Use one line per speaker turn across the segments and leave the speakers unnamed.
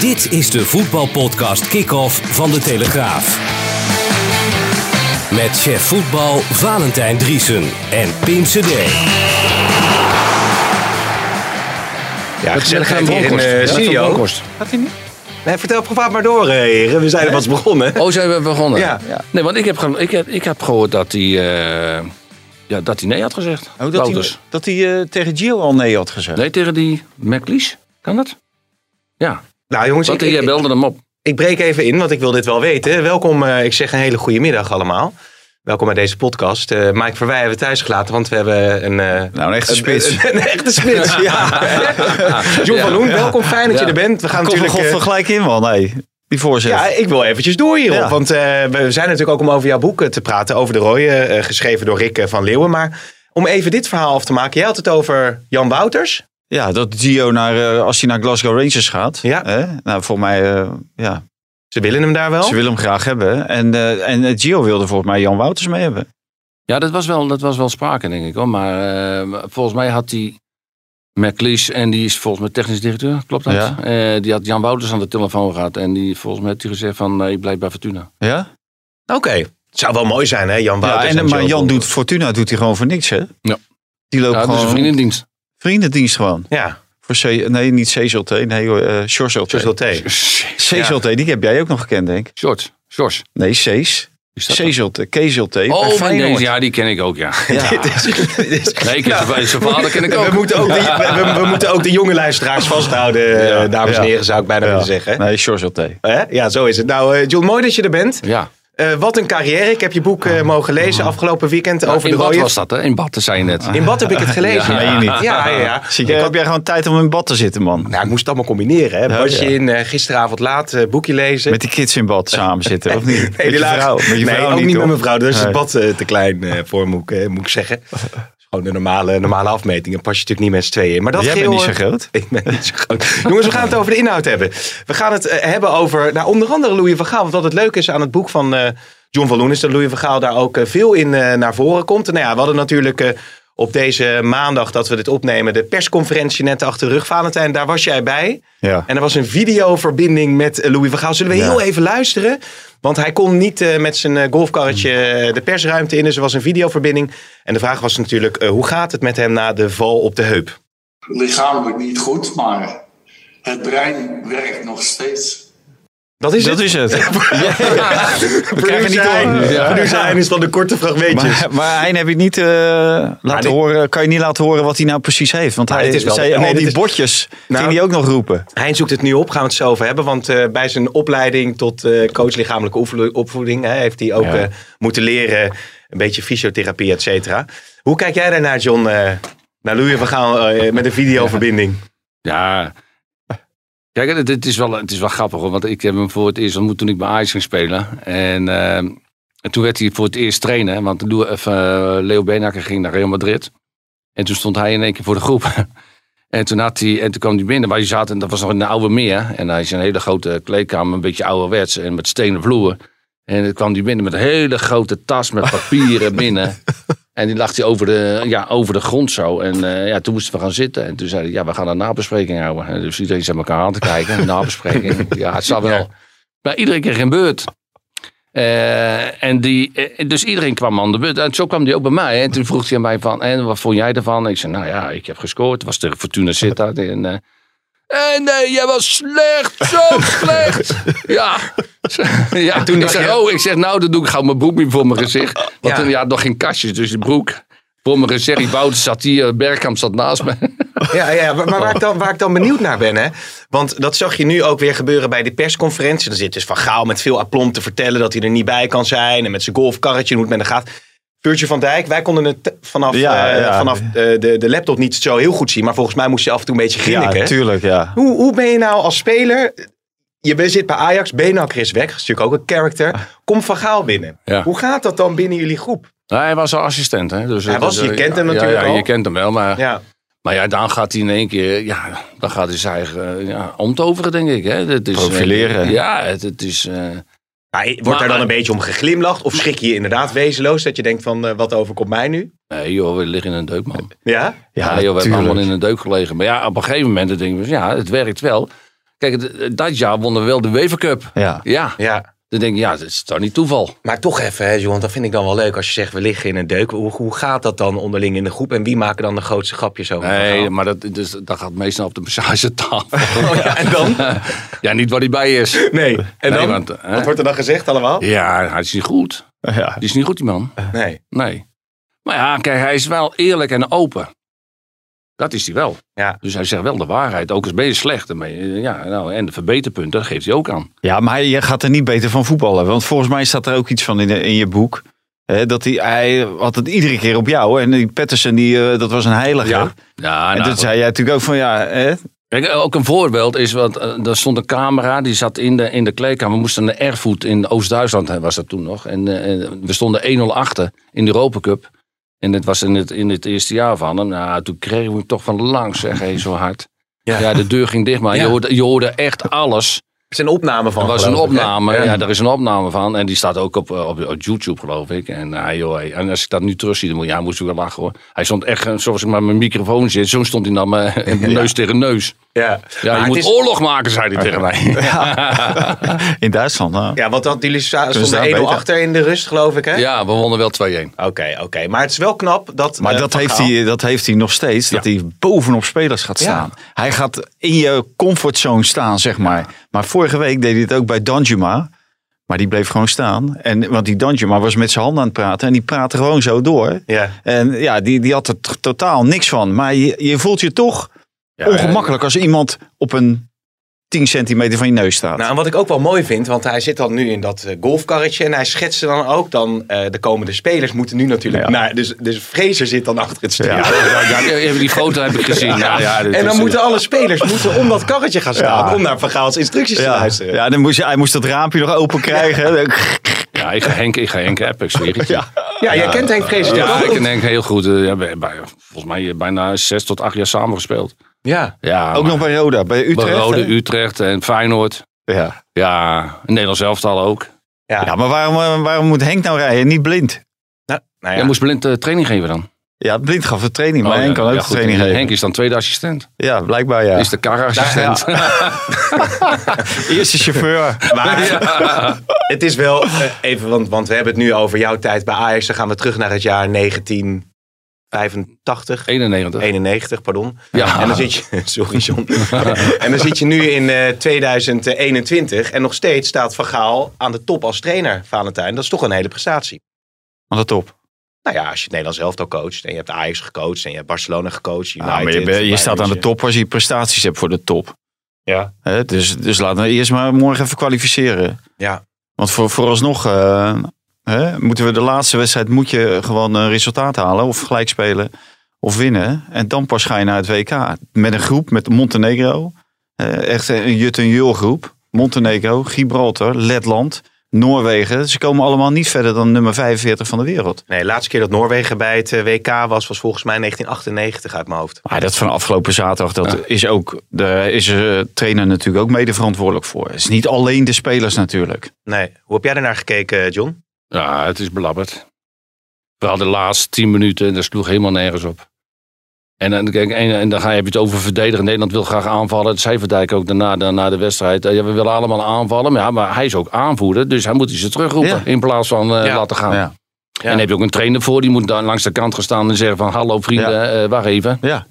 Dit is de voetbalpodcast Kick-Off van De Telegraaf. Met chef voetbal Valentijn Driesen en Pim CD.
Ja, gezelligheid
gaan
hier in
Bronkhorst.
de
Ja,
eh,
dat
studio.
van Bronkhorst.
Gaat hij niet? Nee, vertel gevaar maar door, eh, heren. We zijn er pas begonnen.
Oh, zijn we begonnen?
Ja.
Nee, want ik heb, gewoon- ik heb, ik heb gehoord dat hij, eh, ja, dat hij nee had gezegd.
Oh, dat hij,
Wouters.
dat hij eh, tegen Gio al nee had gezegd.
Nee, tegen die McLeish. Kan dat? Ja,
Nou jongens,
want
ik,
jij
ik,
belde hem op.
ik breek even in, want ik wil dit wel weten. Welkom, eh, ik zeg een hele goede middag allemaal. Welkom bij deze podcast. Eh Mike Verwij hebben we thuis gelaten, want we hebben een... eh,
Nou, een echte spits.
Een, een echte spits, ja. John van Loen, welkom. Fijn dat je
Ja.
er bent. We gaan
Kom
natuurlijk...
natuurlijk
eh,
gelijk in, man. Nee, die voorzet.
ja, ik wil eventjes door hierop.
Ja.
Want eh, we zijn natuurlijk ook om over jouw boek eh, te praten. Over de rooien, eh, geschreven door Rick eh, van Leeuwen. Maar om even dit verhaal af te maken. Jij had het over Jan Wouters.
Ja, dat Gio, naar, eh, als hij naar Glasgow Rangers gaat.
Ja.
Hè? Nou, volgens mij, eh, ja,
Ze willen hem daar wel.
ze willen hem graag hebben. En, eh, en eh, Gio wilde volgens mij Jan Wouters mee hebben.
Ja, dat was wel, dat was wel sprake, denk ik. Hoor. Maar eh, volgens mij had die McLeish, en die is volgens mij technisch directeur, klopt dat?
Ja.
Eh, die had Jan Wouters aan de telefoon gehad. En die, volgens mij heeft hij gezegd van, nee, ik blijf bij Fortuna.
Ja?
Oké. Het zou wel mooi zijn, hè, Jan
ja
Wouters.
en, eh, maar
Joe
Jan
Bond.
doet Fortuna doet hij gewoon voor niks, hè?
Ja.
Die loopt
Ja, dus
gewoon...
een vriendendienst.
Vriendendienst gewoon.
Ja,
Voor C, nee, niet CZLT. Nee, hoor, eh CZLT.
zoals thee.
CZLT, die heb jij ook nog gekend, denk ik.
Short, Sjors.
Nee, Cees.
Is dat dan?
Cees-LT, Kees-LT.
Oh, van
Feyenoord.
deze, ja, die ken ik ook, ja.
Ja.
Nee, ik heb zijn- zijn vader ken ik ook.
We moeten ook, de, we, we- we moeten ook de jonge luisteraars vasthouden, eh, dames en
Ja.
heren, zou ik bijna willen zeggen.
Nee, George LT.
Hè? Ja, zo is het. Nou, eh, John, mooi dat je er bent.
Ja.
Eh, wat een carrière. Ik heb je boek eh, mogen lezen afgelopen weekend
Nou,
over
in
de
bad
rode.
was dat, hè? In bad, dat zei je net.
In wat heb ik het gelezen?
Ja. Meen je niet?
Ja, ja, ja. Eh,
Zie je, heb jij gewoon tijd om in bad te zitten, man.
Nou, ik moest het allemaal combineren. Hè. Was
ja.
je in eh, gisteravond laat eh, boekje lezen?
Met die kids in bad samen zitten, of niet?
Nee,
met je
die lagen-
vrouw. Met je
nee,
vrouw
ook niet met
hoor.
mijn vrouw. Daar is het
Nee.
bad eh, te klein eh, voor, moet ik, eh, moet ik zeggen. Dat is gewoon de normale, normale afmeting. Dan pas je natuurlijk niet met z'n tweeën in. Maar dat
Jij bent
geheel,
niet zo
eh,
groot.
Ik ben niet zo groot. Jongens, we gaan het over de inhoud hebben. We gaan het eh, hebben over, nou, onder andere Louis van Gaal. Want wat het leuke is aan het boek van eh, John van Loen... is dat Louis van Gaal daar ook eh, veel in eh, naar voren komt. En nou ja, we hadden natuurlijk eh, op deze maandag dat we dit opnemen... de persconferentie net achter de rug. Valentijn, daar was jij bij.
Ja.
En er was een videoverbinding met eh, Louis van Gaal. Zullen we
Ja.
heel even luisteren? Want hij kon niet eh, met zijn eh, golfkarretje eh, de persruimte in. Dus er was een videoverbinding. En de vraag was natuurlijk, eh, hoe gaat het met hem na de val op de heup?
lichamelijk niet goed, maar het brein werkt nog steeds.
Dat is
Dat
het.
is het. We krijgen niet
Producer
door.
Hein.
Ja.
Producer Hein is van de korte fragmentjes.
Maar, maar Hein heb je niet eh, laten
dit-
horen, kan je niet laten horen wat hij nou precies heeft. Want hij
dit is wel-
zei
nee,
al
dit
die
is-
botjes,
Nou-
ging hij ook nog roepen.
Hein zoekt het nu op, gaan we het zo over hebben. Want eh, bij zijn opleiding tot eh, coach lichamelijke oefel- opvoeding hè, heeft hij ook
Ja.
eh, moeten leren. Een beetje fysiotherapie, et cetera. Hoe kijk jij daarnaar, John? eh naar Louis van Gaal eh, met een videoverbinding.
Ja. Kijk, het, het is wel, het is wel grappig, hoor, want ik heb hem voor het eerst ontmoet toen ik bij Ajax ging spelen. En, eh, en toen werd hij voor het eerst trainen, hè, want Lou- of, eh, Leo Beenhakker ging naar Real Madrid. En toen stond hij in één keer voor de groep. En toen, had hij, en toen kwam hij binnen, waar hij zat, en dat was nog in de oude meer. En hij is een hele grote kleedkamer, een beetje ouderwets, en met stenen vloer. En toen kwam hij binnen met een hele grote tas met papieren binnen. En die lag hij over de, ja, over de grond zo. En eh, ja, toen moesten we gaan zitten. En toen zei hij, ja, we gaan een nabespreking houden. En dus iedereen zat elkaar aan te kijken. Een nabespreking. Ja, het zal wel. Maar iedereen kreeg een beurt. Eh, en die, eh, dus iedereen kwam aan de beurt. En zo kwam hij ook bij mij. En toen vroeg hij aan mij van, en wat vond jij ervan? En ik zei, nou ja, ik heb gescoord. Het was tegen Fortuna Sittard. En, eh, eh, nee, jij was slecht. Zo slecht. Ja. ja
toen
toen ik
dacht
zei,
je-
oh, ik zeg, nou, dan doe ik gauw mijn broek weer voor mijn gezicht.
Ja.
Want toen, ja, had nog geen kastjes, dus die broek. Voor mijn gezicht, Wouter zat hier, eh, Bergkamp zat naast me.
Ja, ja maar, maar waar, ik dan, waar ik dan benieuwd naar ben, hè? Want dat zag je nu ook weer gebeuren bij die persconferentie. Dan zit dus Van Gaal met veel aplomb te vertellen dat hij er niet bij kan zijn. En met zijn golfkarretje en hoe het met hem gaat. Virgil van Dijk, wij konden het t- vanaf,
Ja,
eh,
ja.
vanaf eh, de, de laptop niet zo heel goed zien. Maar volgens mij moest je af en toe een beetje grinniken.
Ja,
hè?
tuurlijk, ja.
hoe, hoe ben je nou als speler... Je bent- zit bij Ajax, ben je nou Chris Weg, dat is natuurlijk ook een
Ah.
character. Kom Van Gaal binnen.
Ja.
Hoe gaat dat dan binnen jullie groep?
Nou, hij was al assistent. Hè? Dus,
Hij
eh,
was-
dat,
je
eh,
kent hem
ja,
natuurlijk
ja,
al.
je kent hem wel. Maar
Ja.
Maar ja, dan gaat hij in één keer, ja, dan gaat hij zijn eigen eh, ja, omtoveren, denk ik. Hè. Dat is, eh,
Profileren.
ja, het, het is... eh,
Maar wordt
Maar-
daar dan een beetje om geglimlacht? Of schrik je je inderdaad wezenloos dat je denkt van, eh, wat overkomt mij nu?
nee joh, we liggen in een deuk, man.
Ja?
Ja, joh, we hebben allemaal in een deuk gelegen. Maar ja, op een gegeven moment denk ik, van, ja, het werkt wel. Kijk, het- eh, dat jaar wonnen we wel de UEFA Cup.
Ja.
Ja,
Ja.
dan denk ik, ja, dat is toch niet toeval.
Maar toch even, hè, John, dat vind ik dan wel leuk als je zegt, we liggen in een deuk. Hoe, hoe gaat dat dan onderling in de groep? En wie maken dan de grootste grapjes over? Van Gaal?
Nee, maar dat, dus, dat gaat meestal op de massagetafel.
Oh ja, en dan?
ja, niet waar hij bij is.
Nee. En
Nee,
dan?
want, hè?
Wat wordt er dan gezegd allemaal?
Ja, hij is niet goed.
Ja.
Die is niet goed, die man.
Nee.
Nee. Maar ja, kijk, hij is wel eerlijk en open. Dat is hij wel.
Ja.
Dus hij zegt wel de waarheid. Ook als ben je slecht. dan ben je- ja, nou, en de verbeterpunten dat geeft hij ook aan.
Ja, maar hij- je gaat er niet beter van voetballen. Want volgens mij staat er ook iets van in, de- in je boek. Hè, dat hij, hij had het iedere keer op jou. En die Patterson, die, eh, dat was een heilige.
ja
En
nou,
dat zei jij natuurlijk ook van ja. Hè?
Kijk, ook een voorbeeld is, want eh, er stond een camera, die zat in de, in de kleedkamer. We moesten naar Erfurt in Oost-Duitsland, hè, was dat toen nog. En eh, en we stonden 1-0 achter in de Europa Cup. En dat was in het, in het eerste jaar van hem. Nou, toen kregen we hem toch van langs, zeg hé, zo hard. Ja. de deur ging dicht, maar
Ja.
je, hoorde, je hoorde echt alles.
Er is een opname van.
Er was een
geloof ik, hè?
opname, ja, daar is een opname van. En die staat ook op, eh, op, op YouTube, geloof ik. En, ah, joh, hey. en als ik dat nu terugzie, dan moet, ja, moest ik wel lachen hoor. Hij stond echt, eh, zoals ik met mijn microfoon zit, zo stond hij dan eh, neus tegen neus.
Ja,
Ja,
Maar
je moet
het is-
oorlog maken, zei hij tegen mij.
In Duitsland. Nou.
Ja, want dat, jullie sta-
Kunnen ze
stonden 1-0
daar beter?
achter in de rust, geloof ik, hè?
Ja, we wonnen wel 2-1.
Oké, oké. Maar het is wel knap dat...
Maar
eh,
dat,
Van
heeft
Gaal-
hij, dat heeft hij nog steeds. Dat hij bovenop spelers gaat
Ja.
staan. Hij gaat in je comfortzone staan, zeg maar. Maar vorige week deed hij het ook bij Danjuma. Maar die bleef gewoon staan. En, want die Danjuma was met zijn handen aan het praten. En die praatte gewoon zo door.
Ja.
En ja, die, die had er t- totaal niks van. Maar je, je voelt je toch ongemakkelijk als iemand op een 10 centimeter van je neus staat.
Nou, en wat ik ook wel mooi vind, want hij zit dan nu in dat eh, golfkarretje en hij schetste dan ook dan eh, de komende spelers moeten nu natuurlijk
Ja.
naar. Dus, dus Fraser zit dan achter het stuur.
Ja, die- die foto heb ik gezien. Ja, ja, dit
en dan
is-
moeten alle spelers moeten om dat karretje gaan staan
Dus- Ja.
om naar Van Gaals instructies te
ja,
luisteren.
ja dan moest je, hij moest dat raampje nog open krijgen.
Ja, ik ga Henk, ik ga Henk Apex weer. Ja,
Ja, jij kent Henk Fraser toch
ja
ook
ik
goed?
ken Henk heel goed. eh, Ja, bij, bij- volgens mij eh, bijna zes tot acht jaar samen gespeeld.
Ja.
Ja,
Ook nog bij Roda, bij Utrecht.
Utrecht, Rode
hè?
Utrecht en Feyenoord.
ja.
Ja, Nederlands elftal ook.
Ja.
Ja, maar waarom, eh, waarom moet Henk nou rijden? Niet blind.
Nou, nou
Jij
ja.
moest blind eh, training geven dan.
Ja, blind gaf de training, maar
Oh,
Henk
ja,
kan ook
ja,
de
goed,
training
en
geven.
Henk is dan tweede assistent.
Ja, blijkbaar ja.
Is de karassistent.
Eerste chauffeur.
Maar het is wel eh, even, want, want we hebben het nu over jouw tijd bij Ajax. Dan gaan we terug naar het jaar 1985.
91.
91, pardon.
Ja.
En dan zit je, sorry John. en dan zit je nu in eh, 2021 en nog steeds staat Van Gaal aan de top als trainer, Valentijn. Dat is toch een hele prestatie.
Aan de top.
Nou ja, als je het Nederlands elftal coacht en je hebt Ajax gecoacht en je hebt Barcelona gecoacht. United,
Ja, maar je, ben- je
Bayern
staat aan de
München.
top als je prestaties hebt voor de top.
Ja.
Hè, dus, dus laten we eerst maar morgen even kwalificeren.
Ja.
Want voor, vooralsnog eh, hè, moeten we de laatste wedstrijd moet je gewoon een resultaat halen. Of gelijk spelen of winnen. En dan pas ga je naar het WK. Met een groep, met Montenegro. Eh, echt een Jut en Jul groep. Montenegro, Gibraltar, Letland, Noorwegen. Ze komen allemaal niet verder dan nummer 45 van de wereld.
Nee, de laatste keer dat Noorwegen bij het eh, WK was, was volgens mij 1998 uit mijn hoofd.
Maar dat van afgelopen zaterdag, dat is ook, daar is de trainer natuurlijk ook mede verantwoordelijk voor. Het is niet alleen de spelers natuurlijk.
Nee, hoe heb jij ernaar gekeken, John?
Ja, het is belabberd. Vooral de laatste tien minuten, en dat sloeg helemaal nergens op. En, dan- kijk, en, en dan ga, heb je het over verdedigen. Nederland wil graag aanvallen. Dat zei Van Dijk ook daarna, daarna de wedstrijd. Eh, Ja, we willen allemaal aanvallen. Maar, ja, maar hij is ook aanvoerder, dus hij moet ze terugroepen.
Ja.
In plaats van eh,
Ja.
laten gaan.
Ja.
Ja.
En dan heb je ook een trainer voor. Die moet daar langs de kant gaan staan en zeggen van... Hallo vrienden, eh, wacht even.
Ja.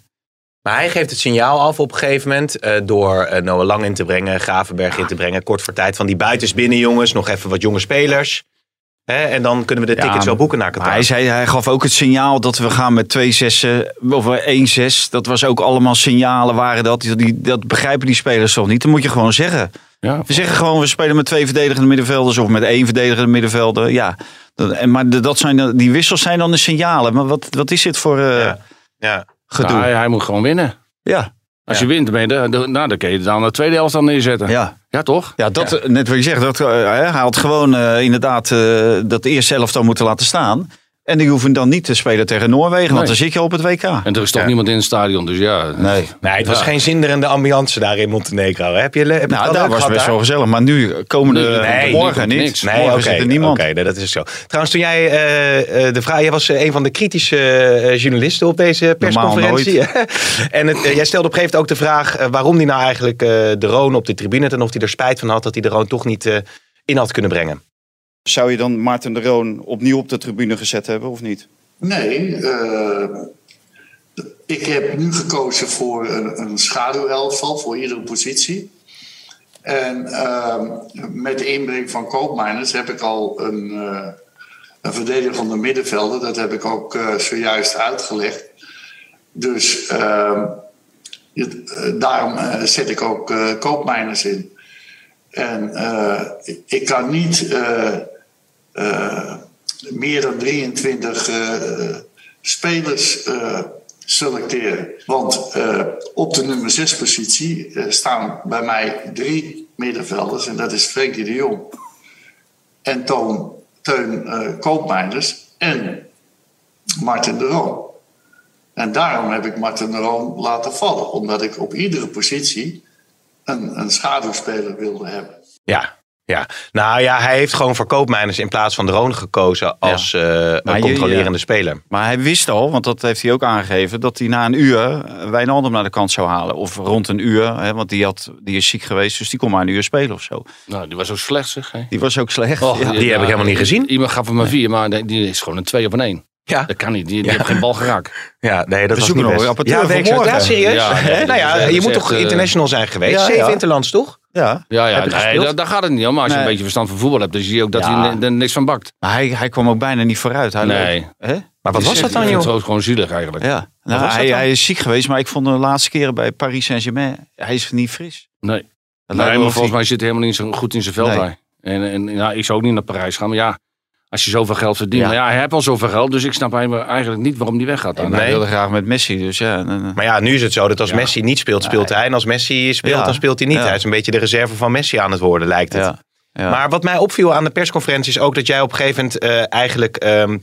Maar hij geeft het signaal af op een gegeven moment eh, door eh, Noah Lang in te brengen, Gravenberg in te brengen. Kort voor tijd van die buitens binnen jongens, nog even wat jonge spelers. Hè, en dan kunnen we de
Ja,
tickets wel boeken naar Qatar.
Maar hij, zei, hij gaf ook het signaal dat we gaan met 2 6 of 1-6. Dat was ook allemaal signalen waren dat. Die, dat begrijpen die spelers toch niet. Dat moet je gewoon zeggen.
Ja,
We zeggen gewoon, we spelen met twee verdedigende middenvelders of met één verdedigende middenvelder. Ja, Dat- en- Maar de- dat zijn, dan- die wissels zijn dan de signalen. Maar wat, wat is dit voor eh,
Ja. Ja.
gedoe?
Nou,
Ja,
hij, hij moet gewoon winnen.
ja.
Als
Ja.
je wint, ben je de, de- nou, dan kun je dan de tweede helft dan neerzetten.
ja.
Ja, toch?
dat, eh, net wat je zegt, dat, eh, hij had gewoon eh, inderdaad eh, dat eerste elftal moeten laten staan. En die hoeven dan niet te spelen tegen Noorwegen, want
Nee.
dan zit je op het WK.
En er is toch
Ja.
niemand in het stadion, dus ja.
Nee.
Nee, het was
Ja.
geen zinderende ambiance daar in Montenegro. Heb je, heb je het wel
Nou, daar
leuk
was
gehad
best
daar?
wel gezellig. Maar nu eh, komende
Nee, nee, nu
morgen niet.
komt niks.
Nee,
morgen
oké,
zit er niemand.
Oké, nee, dat is zo. Trouwens, toen jij eh, eh, de vraag... Jij was eh, een van de kritische eh, journalisten op deze persconferentie. en het, eh, jij stelde op een gegeven moment ook de vraag... eh, waarom hij nou eigenlijk eh, de Roon op de tribune... had en of hij er spijt van had dat hij de Roon toch niet eh, in had kunnen brengen.
Zou je dan Maarten de Roon opnieuw op de tribune gezet hebben of niet?
Nee, eh, ik heb nu gekozen voor een, een schaduwelftal voor iedere positie. En ehm, met de inbreng van Koopmeiners heb ik al een, eh een verdedigende middenvelder. Dat heb ik ook eh, zojuist uitgelegd. Dus ehm, het- eh, daarom eh, zet ik ook eh Koopmeiners in. En eh, ik- ik kan niet... eh, eh, meer dan 23 eh, eh, spelers eh, selecteren. Want eh, op de nummer 6 positie eh, staan bij mij drie middenvelders. En dat is Frenkie de Jong en Toon, Teun eh Koopmeiners en Martin de Roon. En daarom heb ik Martin de Roon laten vallen. Omdat ik op iedere positie een, een schaduwspeler wilde hebben.
Ja. Ja, nou ja, hij heeft gewoon voor Koopmeiners in plaats van de Roon gekozen als eh,
Maar
een
je-
controlerende speler.
Maar hij wist al, want dat heeft hij ook aangegeven, dat hij na een uur eh, Wijnaldum naar de kant zou halen. Of rond een uur, hè, want die, had, die is ziek geweest, dus die kon maar een uur spelen of zo.
Nou, die was ook slecht, zeg. Hè?
Die was ook slecht.
Och,
ja.
Oh, die heb ik helemaal niet gezien.
Iemand gaf hem maar vier, maar die- die is gewoon een twee op een één.
Ja.
Dat kan niet, die, die heeft geen bal geraakt.
Ja, nee, dat
We
was niet
zoeken nog
best.
een rapporteur
ja,
voor
weet ik zo.
morgen.
Ja, serieus?
Ja,
Hè?
nee,
nou ja,
dat is
je moet
echt,
toch
eh,
international zijn geweest?
ja,
Zeven
ja.
interlands, toch?
Ja.
Ja, ja
Heb je
nee,
gespeeld?
daar, daar gaat het niet om. Maar als je
Nee.
een beetje verstand van voetbal hebt, dan zie je ook dat
Ja.
hij er- er niks van bakt.
Maar hij, hij kwam ook bijna niet vooruit. Hij
Nee.
leek- hè?
Maar wat
Dus
was
ik
dat dan,
vind
joh?
Het gewoon- gewoon zielig eigenlijk.
Ja. Nou,
was dat
hij,
dan?
hij is ziek geweest, maar ik vond de laatste keren bij Paris Saint-Germain, hij is niet fris.
Nee.
Dat
Nee,
lijkt
maar
wel
volgens
of
mij zit hij helemaal niet zo goed in zijn vel
Nee.
bij. En, en ja, ik zou ook niet naar Parijs gaan. Maar ja, als je zoveel geld verdient.
Ja.
Maar ja, hij heeft al zoveel geld. Dus ik snap eigenlijk niet waarom hij weggaat.
hij-
Dan.
Hij
Nee.
wilde graag met Messi, dus ja. dan-
Maar ja, nu is het zo dat als
Ja.
Messi niet speelt, speelt hij. En als Messi speelt,
Ja.
dan speelt hij niet.
Ja.
Hij is een beetje de reserve van Messi aan het worden, lijkt het.
ja. Ja.
Maar wat mij opviel aan de persconferentie is ook dat jij op een gegeven moment eh, eigenlijk ehm,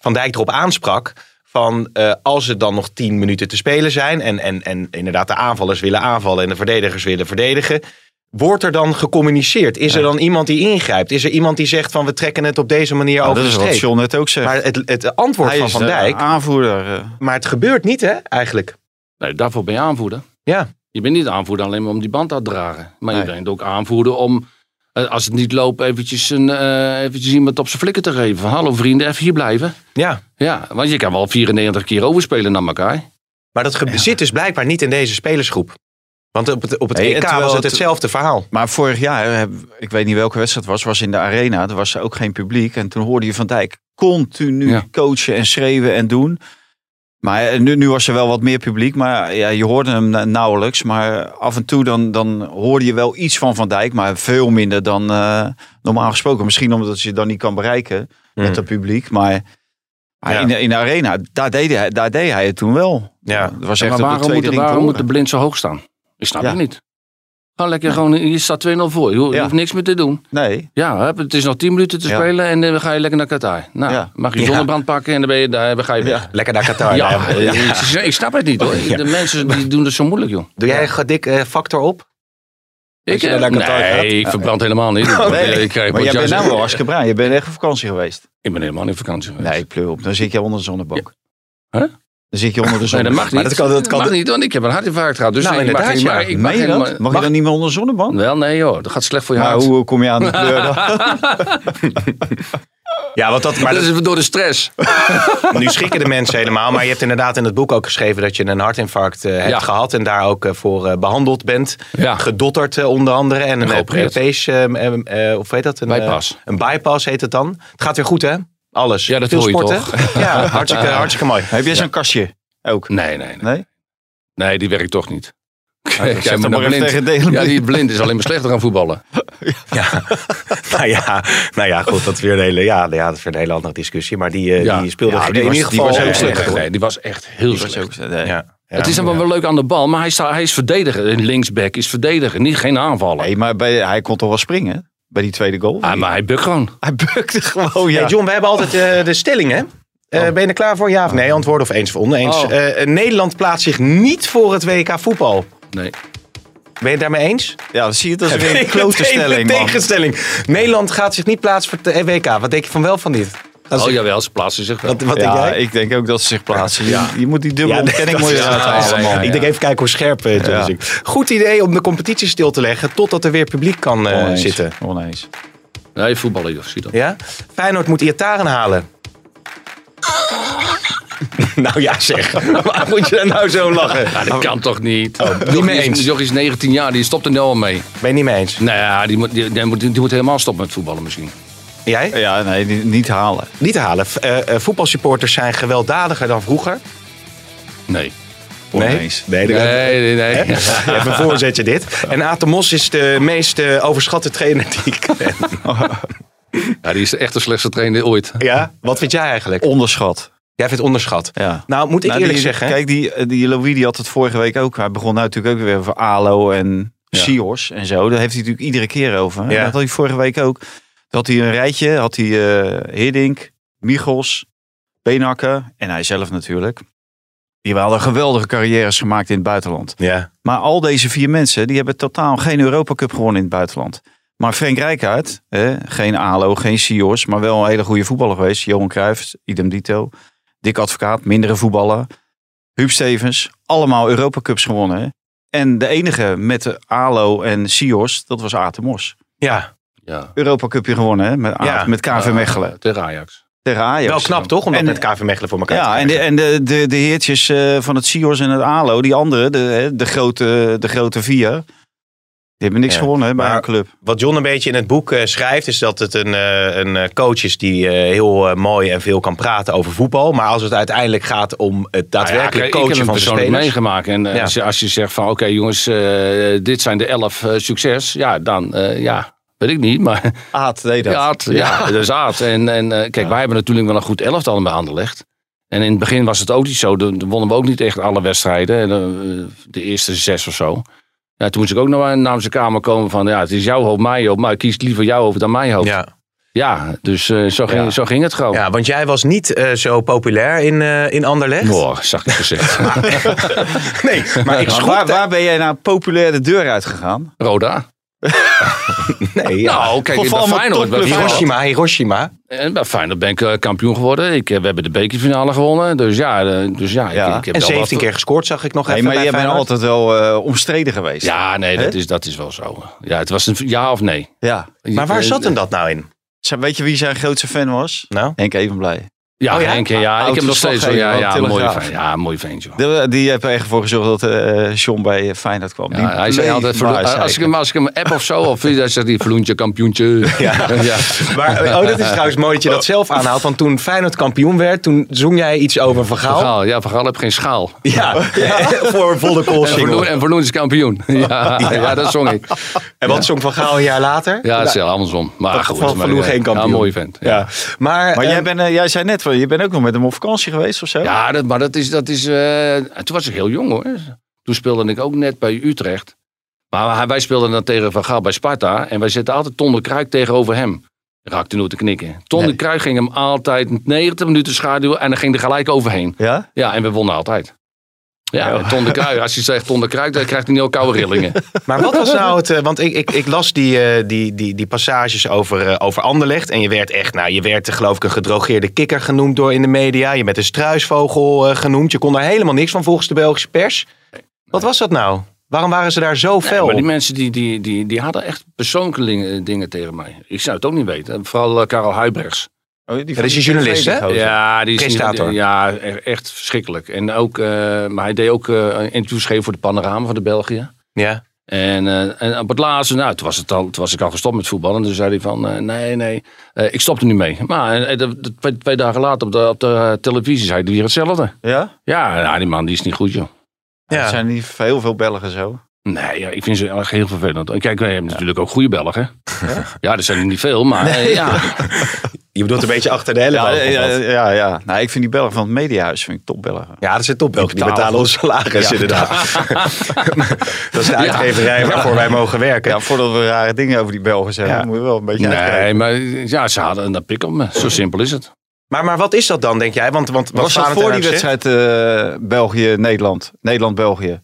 Van Dijk erop aansprak. Van eh, als er dan nog tien minuten te spelen zijn. En, en, en inderdaad de aanvallers willen aanvallen en de verdedigers willen verdedigen. Wordt er dan gecommuniceerd? Is er dan iemand die ingrijpt? Is er iemand die zegt van we trekken het op deze manier
Nou,
over
dat
de
is wat
streep?
John net ook zegt.
Maar het, het antwoord
hij
van
is eh,
Van
de
Dijk.
aanvoerder. eh.
Maar het gebeurt niet hè, eigenlijk.
Nee, daarvoor ben je aanvoerder.
Ja.
Je bent niet aanvoerder alleen maar om die band uit te dragen. Maar je
Nee.
bent ook aanvoerder om, eh, als het niet loopt, eventjes, een, eh, eventjes iemand op zijn flikker te geven. Van, hallo vrienden, even hier blijven.
Ja.
Ja, want je kan wel 94 keer overspelen naar elkaar.
Maar dat ge- zit dus blijkbaar niet in deze spelersgroep. Want op het, op het
Nee,
EK
terwijl
was het
het-
hetzelfde verhaal.
Maar vorig jaar, heb- ik weet niet welke wedstrijd het was, was in de arena. Er was ook geen publiek. En toen hoorde je Van Dijk continu
Ja.
coachen en schreeuwen en doen. Maar eh, nu, nu was er wel wat meer publiek. Maar ja, je hoorde hem na- nauwelijks. Maar af en toe dan, dan hoorde je wel iets van Van Dijk. Maar veel minder dan eh, normaal gesproken. Misschien omdat je het dan niet kan bereiken
Hmm.
met het publiek. Maar, maar
Ja.
in, de, in de arena, daar deed, hij, daar deed hij het toen wel.
Ja.
Dat was echt
maar
op de
waarom,
tweede
moet,
ring te
waarom moet
horen.
de blind zo hoog staan? Ik snap
Ja.
het niet. Ga lekker gewoon, je staat 2-0 voor. Je, ho- je
Ja.
hoeft niks meer te doen.
Nee,
Ja, hup, het is nog 10 minuten te
Ja.
spelen en eh, dan ga je lekker naar Qatar. Nou,
Ja.
mag je
Ja.
zonnebrand pakken en dan, ben je, daar, dan ga je weg.
Lekker naar
Ja,
Qatar. Nou,
Ik, ik snap het niet hoor. De mensen die doen het zo moeilijk joh.
Doe jij een dik eh, factor op?
Ik,
je
eh,
naar
nee,
Qatar gaat.
ik verbrand helemaal niet. Ik word,
Nee.
eh, ik krijg-
maar
word
jij bent
juist-
nou wel hartstikke bruin. Je bent echt op vakantie geweest.
Ik ben helemaal niet op vakantie geweest.
Nee, pleur op. Dan zit je onder de zonnebank.
Ja. Hè?
Dan zit je onder de
Nee, dat
zonnebank.
mag niet.
dat kan- dat kan-
mag niet, want ik heb een hartinfarct gehad. Dus
Nou,
ik mag,
inderdaad,
ik
ja.
mag, ik mag
Meen je dat?
helemaal-
Mag, je dan niet meer onder de zonnebank?
Wel, nee joh. Dat gaat slecht voor je
Maar
hart.
hoe kom je aan de kleur dan?
Ja, want dat, maar
dat is door de stress.
dat- nu schrikken de mensen helemaal. Maar je hebt inderdaad in het boek ook geschreven dat je een hartinfarct eh, hebt
Ja.
gehad. En daar ook eh, voor eh, behandeld bent.
Ja.
Gedotterd eh, onder andere. En een eh,
geopereerd.
prothees, eh, eh, eh, of weet dat? Een, eh,
Bypass.
een bypass heet het dan. Het gaat weer goed hè? Alles.
Ja, dat
Veel
hoor je
sporten.
toch?
Ja, hartstikke, hartstikke mooi.
Heb jij zo'n kastje? Ook.
Nee, nee, nee.
Nee?
Nee, die werkt toch niet. Kijk,
Zet
maar
hem maar
naar
even
blind.
tegen de hele
Ja,
blik.
die blind is alleen maar slechter aan voetballen.
Ja. nou, ja, nou ja, goed, dat is weer een hele, ja, nou ja, dat is weer een hele andere discussie. Maar die, eh, die speelde
Ja,
in
die was,
ieder geval
die was heel
eh,
slecht.
echt, hoor.
Nee, die was echt heel slecht.
Ja.
nee.
Ja.
het is dan
Ja.
wel leuk aan de bal, maar hij, sta, hij is verdediger. Een linksback is verdediger, niet geen aanvaller.
Nee, maar bij, hij kon toch wel springen bij die tweede goal?
Ah, maar hij bukt gewoon.
Hij bukte
Oh,
gewoon, ja.
Hey John, we hebben altijd eh, de stelling, hè? Eh, ben je er klaar voor? Ja of nee? Antwoord of eens of oneens.
Oh.
Eh, Nederland plaatst zich niet voor het WK voetbal.
Nee.
Ben je het daarmee eens?
ja, dan zie je, dat is weer een
Meteen
klote stelling,
de
man.
tegenstelling. Nederland gaat zich niet plaatsen voor het WK. Wat denk je van wel van niet? Als
Oh
ik-
jawel, ze plaatsen zich wel.
Wat, wat denk
Ja,
jij?
ik denk ook dat ze zich plaatsen. Je-
Ja.
Je, moet die dubbele
Ja, nee,
ontkenning
dat
moet je
is-
eruit
ja,
halen,
ja,
man.
ja, ja.
Ik denk even kijken hoe scherp eh, John
Ja.
is. Ik- Goed idee om de competitie stil te leggen totdat er weer publiek kan eh,
Oneens,
zitten.
Oneens.
Nee, voetballen, joh, zie dat.
Ja? Feyenoord moet Iataren halen. nou ja zeg, waar moet je daar nou zo om lachen?
Ja, dat kan toch niet?
Oh, niet
Jochie
mee
is-
eens.
Jochie is 19 jaar, die stopt er nu al mee.
Ben je niet mee eens?
Nou ja, die moet, die, die moet, die moet helemaal stoppen met voetballen misschien.
Jij?
Ja, nee, die- niet halen.
Niet te halen. V- eh, eh, voetbalsupporters zijn gewelddadiger dan vroeger.
Nee.
Oneens.
Nee, dat-
Nee, nee, nee.
Hè? Even een voorzetje dit. En Atemos is de meest eh, overschatte trainer die ik ken.
Ja, die is echt de slechtste trainer ooit.
Ja? Wat vind jij eigenlijk?
Onderschat.
Jij vindt onderschat.
Ja.
Nou, moet ik
Nou,
eerlijk
die-
zeggen.
Kijk, die, eh, die Louis die had het vorige week ook. Hij begon nou natuurlijk ook weer over Alo en
Ja.
Sios en zo. Daar heeft hij natuurlijk iedere keer over. En
Ja.
Dat had hij vorige week ook. Dat had hij een rijtje. Had hij eh Hiddink, Michos, Beenhakker en hij zelf natuurlijk. Die hadden geweldige carrières gemaakt in het buitenland.
Ja.
Maar al deze vier mensen, die hebben totaal geen Europa Cup gewonnen in het buitenland. Maar Frank Rijkaard, hè, geen ALO, geen Sios, maar wel een hele goede voetballer geweest. Johan Cruijff, idem dito. Dick Advocaat, mindere voetballer. Huub Stevens, allemaal Europa Cups gewonnen. hè. En de enige met de ALO en Sios, dat was Atemos.
ja.
Ja.
Europa Cupje gewonnen hè, met, A-
Ja.
met KV Mechelen.
Ja, Tegen Ajax.
Tegen Ajax.
Wel knap toch? Om dat
En-
met KV Mechelen voor elkaar
ja,
te
en de,
krijgen.
en de, de, de heertjes eh, van het Sios en het ALO, die andere, de, hè, de, grote, de grote vier, die hebben niks
Ja,
gewonnen hè, bij
maar-
een club.
Wat John een beetje in het boek eh, schrijft, is dat het een, eh, een eh, coach is die eh, heel eh, mooi en veel kan praten over voetbal. Maar als het uiteindelijk gaat om het
Nou ja,
daadwerkelijk
kijk, ik heb
coachen
hem
van de
persoonlijk
spelers.
meegemaakt. En eh,
Ja.
als, je, als je zegt van oké jongens, eh, dit zijn de elf eh, succes. Ja, dan eh, ja, weet ik niet. Maar
Aad deed dat.
ja, Aad, ja. dat is Aad. En, en eh, kijk, wij hebben natuurlijk wel een goed elftal bij Anderlecht. En in het begin was het ook niet zo. Dan dan wonnen we ook niet echt alle wedstrijden. En, eh, de eerste zes of zo. Ja, toen moest ik ook nog naar naar zijn kamer komen van ja, het is jouw hoofd, mijn hoofd. Maar ik kies liever jouw hoofd dan mijn hoofd. Ja,
Ja.
dus eh, zo, ging,
Ja.
zo ging het gewoon.
ja, want jij was niet eh, zo populair in, eh, in Anderlecht.
Mooi, zacht gezegd.
Nee, maar ik schrok
waar, waar ben jij nou populair de deur uit gegaan?
Roda.
Nee, ja.
Nou, kijk,
Of
bij
allemaal
Feyenoord, bij
topclubs.
Feyenoord,
Hiroshima, Hiroshima.
En bij Feyenoord ben ik eh, kampioen geworden. Ik, eh, we hebben de bekerfinale gewonnen. Dus ja, eh, dus ja,
Ja.
Ik, ik heb
En
wel wat-
17 keer gescoord, zag ik nog
Nee,
even
maar
bij
jij bent
Feyenoord.
altijd wel eh, omstreden geweest.
Ja, nee, dat
Hè?
is, dat is wel zo. Ja, het was een v- ja of nee. Eh,
ja.
Maar waar zat
een
hem dat nou in?
Zij- Weet je wie zijn grootste fan was?
Nou?
Henk Evenblij.
Ja,
Oh ja?
Henk, ja, ik heb hem nog steeds. hoor. Ja, ja,
Oud-verslaggever van
mooi
Telegraaf.
vent. Ja, mooi vent, joh.
Die, die heeft er echt voor gezorgd dat eh John bij Feyenoord kwam. Die
Ja, hij zei
bleef
altijd,
maar
verlo-
zeiken.
als, ik hem, als ik hem app of zo, of dan zegt hij, verloentje, kampioentje. Ja.
Maar, oh, dat is trouwens mooi dat je dat zelf aanhaalt. Want toen Feyenoord kampioen werd, toen zong jij iets over Vergaal.
Verhaal, ja, verhaal heb geen schaal.
Ja, voor volle
En Verloen-
koolsingel.
En Verloen is kampioen. Ja, ja, dat zong ik.
En wat zong Vergaal een jaar later?
Ja, het is heel andersom. Maar goed.
Van
maar,
Verloen
eh,
geen kampioen.
Ja, mooi vent.
Ja. Maar,
Maar jij,
ehm,
bent, eh, jij zei net, van, je bent ook nog met hem op vakantie geweest of zo?
Ja, dat, maar dat is. Dat is eh, toen was ik heel jong hoor. Toen speelde ik ook net bij Utrecht. Maar hij- wij speelden dan tegen Van Gaal bij Sparta. En wij zetten altijd Ton de Kruik tegenover hem. Raakte nooit te knikken. Ton de Kruik ging hem altijd 90 minuten schaduwen. En dan ging er gelijk overheen.
Ja?
Ja, en we wonnen altijd. Ja, en Ton de Kruik. Als je zegt Ton de Kruik, dan krijgt hij heel koude rillingen.
maar wat was nou het... eh, Want ik, ik, ik las die, eh, die, die, die passages over, eh, over Anderlecht. En je werd echt... Nou, je werd eh, geloof ik een gedrogeerde kikker genoemd door in de media. Je bent een struisvogel eh, genoemd. Je kon daar helemaal niks van volgens de Belgische pers. Wat was dat nou? Waarom waren ze daar zo fel
maar
op?
die mensen die, die, die, die hadden echt persoonlijke dingen- dingen tegen mij. Ik zou het ook niet weten. Vooral eh, Karel Huibrechts.
Oh, die
dat is een journalist, hè?
gozer.
Ja, die is niet-
Presentator.
ja, e- echt verschrikkelijk. En ook, eh, maar hij deed ook eh, een interview geven voor de Panorama van de België.
Ja.
En, eh, en op het laatste, nou, toen was, het al, toen was ik al gestopt met voetballen. En toen zei hij van, eh, nee, nee, eh, ik stop er nu mee. Maar eh, dat- dat- twee, twee dagen later op de, op de eh, televisie zei hij weer hetzelfde.
Ja?
Ja, nou, die man die is niet goed, joh.
Er
ja.
zijn niet heel veel Belgen zo.
Nee, ja, ik vind ze echt heel vervelend. En Kijk, wij hebben natuurlijk ook goede Belgen. Ja, er zijn er niet veel, maar eh, ja.
Je bedoelt een beetje achter de helft.
Ja,
Ja,
ja, ja, ja. Nou, ik vind die Belgen van het mediahuis vind ik top Belgen.
dat zijn top Die
betalen
betalen ons salaris,
Ja.
inderdaad. dat is de uitgeverij waarvoor wij mogen werken.
Ja, voordat we rare dingen over die Belgen zeggen,
Ja.
moet je wel een beetje uitkijken.
Nee, maar ja, ze hadden een pik op me. Zo simpel is het.
Maar, maar wat is dat dan, denk jij? Want, want, wat
Was dat
Valentijn
voor die
heeft gezegd-
wedstrijd eh, België-Nederland? Nederland-België.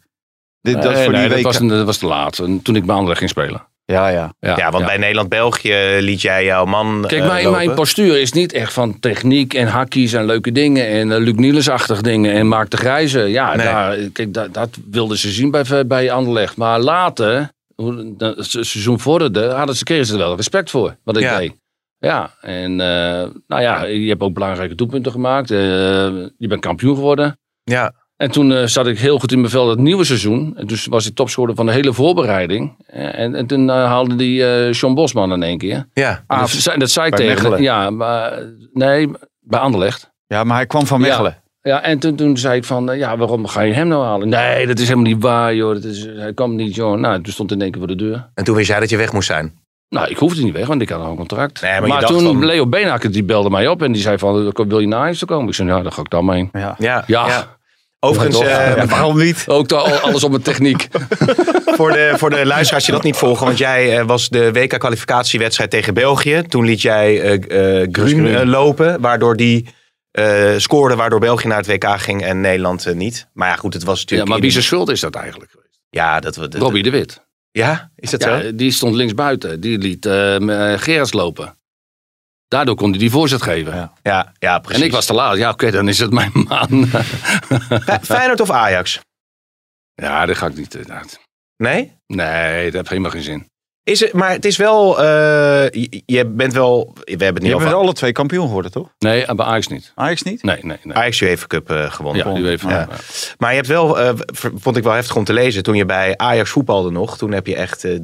Dit dat is
Nee,
voor
nee,
die week.
dat, was, dat was te laat. En Toen ik mijn andere ging spelen.
Ja, ja.
Ja,
Ja, want bij Nederland-België liet jij jouw man
Kijk,
eh,
mijn,
lopen.
mijn postuur is niet echt van techniek en hakkies en leuke dingen. En eh, Luc Niels-achtig dingen en Mark de Grijze. Ja,
Nee.
daar, kijk, dat, dat wilden ze zien bij, bij Anderlecht. Maar later, hoe de- het se- seizoen vorderde, hadden ze, kregen ze er wel respect voor. Wat ik
Ja.
deed. Ja, en eh, nou ja, je hebt ook belangrijke doelpunten gemaakt. Eh, je bent kampioen geworden.
Ja.
En toen eh, zat ik heel goed in mijn vel het nieuwe seizoen. En dus was ik topscorer van de hele voorbereiding. Eh, En, en toen eh, haalde die eh Sean Bosman in één keer.
Ja.
En dat, zei, dat zei ik
bij
tegen.
Mechelen.
Ja, maar, nee, bij Anderlecht.
Ja, maar hij kwam van Mechelen.
Ja, en toen, toen zei ik van, eh, ja, waarom ga je hem nou halen? Nee, dat is helemaal niet waar, joh. Dat is, hij kwam niet, joh. Nou, toen stond in één keer voor de deur.
En toen wist jij dat je weg moest zijn.
Nou, ik hoefde niet weg, want ik had al een contract.
Nee, maar je dacht
toen,
van-
Leo Beenhakker, die belde mij op en die zei van, wil je naar Ajax toe komen? Ik zei, nou, daar ga ik dan maar heen.
Ja.
Ja.
Ja,
Overigens,
Ja, toch?
eh,
Ja, waarom niet?
ook daar al- alles op mijn techniek.
voor, de, voor de luisteraars die dat niet volgen. Want jij eh, was de WK-kwalificatiewedstrijd tegen België. Toen liet jij eh eh, Grun eh, lopen. Waardoor die eh, scoorde. Waardoor België naar het WK ging en Nederland eh, niet. Maar ja, goed, het was
Ja,
natuurlijk...
maar wie zijn schuld is dat eigenlijk? geweest?
Ja, dat, we- dat,
Robbie de Wit.
Ja, is dat zo?
Ja, eh, die stond linksbuiten. Die liet eh eh, Gerrits lopen. Daardoor kon hij die voorzet geven.
Ja,
Ja, ja precies.
en ik was te laat. Ja, oké, dan is het mijn man.
Fe- Feyenoord of Ajax?
ja, dat ga ik niet. eh, dat-
Nee?
Nee, dat heeft helemaal geen zin.
Is het, maar het is wel... eh, je, je bent wel... We hebben het
Je
niet
bent
over
alle twee kampioen geworden, toch?
Nee, eh, bij Ajax niet.
Ajax niet?
Nee, nee, nee.
Ajax UEFA Cup eh, gewonnen.
Ja, u even.
Ja. Maar je hebt wel, eh, v- vond ik wel heftig om te lezen, toen je bij Ajax voetbalde nog, toen heb je echt eh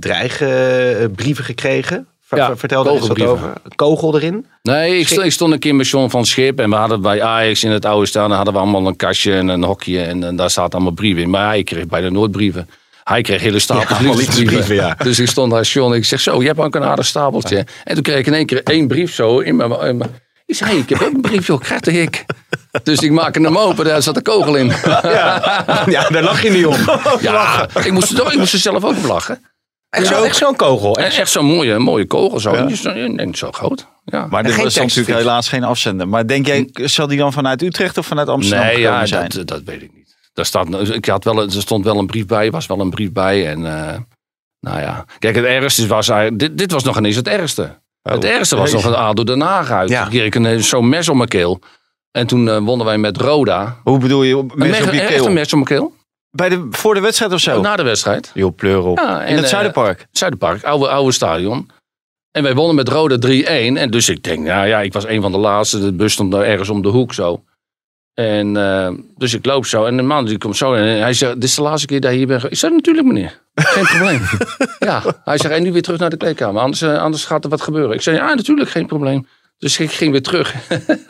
dreigbrieven gekregen. Ver,
Ja,
ver- vertel daar eens wat
kogelbrieven.
over. Kogel erin.
Nee, ik
Schik-
stond, ik stond een keer met John van Schip. En we hadden bij Ajax in het oude staan. hadden we allemaal een kastje en een hokje. En, en daar zaten allemaal brieven in. Maar hij kreeg bijna nooit brieven. Hij kreeg hele stapels
allemaal
liefdesbrieven.
liefdesbrieven, ja.
Dus ik stond daar, John. Ik zeg zo, je hebt ook een aardig stapeltje. En toen kreeg ik in één keer één brief zo in mijn... in mijn- ik zei, hey, ik heb ook een brief, joh, krijg ik. Dus ik maakte hem open, daar zat een kogel in.
ja, daar lach je niet om.
Ja, ik moest, er toch- ik moest er zelf ook om lachen.
Echt zo- echt zo'n kogel.
En echt zo'n mooie, mooie kogel zo. Zo- Ik denk, zo groot. Ja.
Maar dit
geen
was
tekst,
natuurlijk
Frits.
helaas geen afzender. Maar denk jij, zal die dan vanuit Utrecht of vanuit Amsterdam
Nee,
gekomen
ja,
zijn?
dat, dat weet ik niet. Daar staat, ik had wel, een- er stond wel een brief bij, was wel een brief bij. En, eh, nou ja. Kijk, het ergste was eigenlijk, dit, dit was nog ineens het ergste.
Oh,
het ergste was nog een ADO Den Haag uit.
Ja.
Toen kreeg ik een- eh, zo'n mes om mijn keel. En toen eh, wonnen wij met Roda.
Hoe bedoel je, op-
Een
mes op
echt
je
een
keel?
mes om mijn keel.
Bij de, voor de wedstrijd of zo?
Na de wedstrijd.
Joh, pleur op.
Ja, en,
In het
eh,
Zuiderpark?
Zuiderpark, oude, oude stadion. En wij wonnen met Roda 3-1. En dus ik denk, nou ja, ik was een van de laatste. De bus stond daar ergens om de hoek zo. En eh, dus ik loop zo. En de man die komt zo. En hij zegt, dit is de laatste keer dat je hier bent. ge-" Ik zei, natuurlijk meneer. Geen probleem. ja, hij zegt, en nu weer terug naar de kleedkamer. Anders, eh, anders gaat er wat gebeuren. Ik zei, ja, natuurlijk, geen probleem. Dus ik ging weer terug.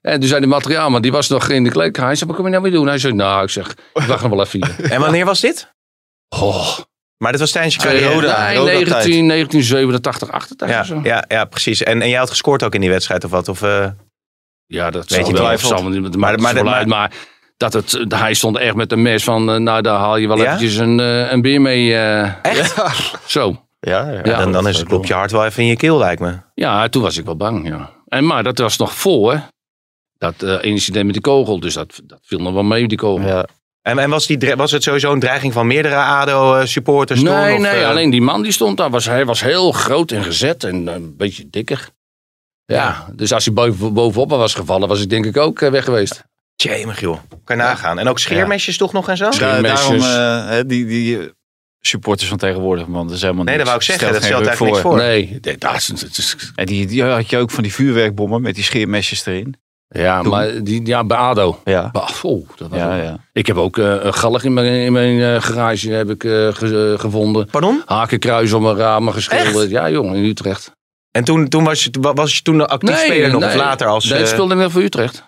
en toen zei de materiaalman, die was nog in de kleedkamer. Hij zei, wat kom je nou weer doen? Hij zei, nou, ik zeg, ik wacht nog wel even hier.
En wanneer was dit?
Oh,
Maar dit was tijdens je
Ah,
carrière.
Roda.
Nee,
Roda
19,
tijd.
1987, 88
Ja,
of zo.
ja, ja, precies. En, en jij had gescoord ook in die wedstrijd of wat? Of, eh,
Ja, dat
Beetje
zal wel.
twijfelt.
Zal, maar,
Maar-
maar,
maar-
maar,
maar-
maar, dat het, eh, hij stond echt met een mes van, eh, nou daar haal je wel
Ja?
eventjes een, eh, een bier mee. eh,
echt? Ja,
zo.
Ja, ja.
Ja.
dan, dan is het klopje hart wel even in je keel, lijkt me.
Ja, toen was ik wel bang. Ja. En, maar dat was nog voor dat eh, incident met die kogel. Dus dat, dat viel nog wel mee, die kogel.
Ja.
En, en was, die, dre- was het sowieso een dreiging van meerdere ADO-supporters?
nee,
eh, of,
nee,
eh,
alleen die man die stond daar, was, hij was heel groot en gezet en eh, een beetje dikker. Ja, dus als hij boven, bovenop was gevallen, was ik denk ik ook eh, weg geweest.
Jemig, joh. Kan je nagaan. En ook scheermesjes toch nog en zo?
Da-
Mesjes.
daarom eh, hè, die, die eh, supporters van tegenwoordig, man, dat is helemaal
Nee, dat
niks.
wou ik zeggen.
Stelt
Dat
geen
stelt
ruk
eigenlijk niks voor.
Nee, dat, dat is, dat is-
En die, die had je ook van die vuurwerkbommen met die scheermesjes erin.
ja, maar die, ja, bij ADO.
Ja,
Bah, oh, dat was
ja,
een-
ja.
Ik heb ook eh, een galg in mijn, in mijn eh, garage heb ik, eh, ge- eh, gevonden.
Pardon?
Hakenkruis om mijn ramen geschilderd. Ja, jongen, in Utrecht.
En toen, toen was, je, wa- was je toen een actief speler nog of later als...
Nee,
eh,
ik speelde net voor Utrecht.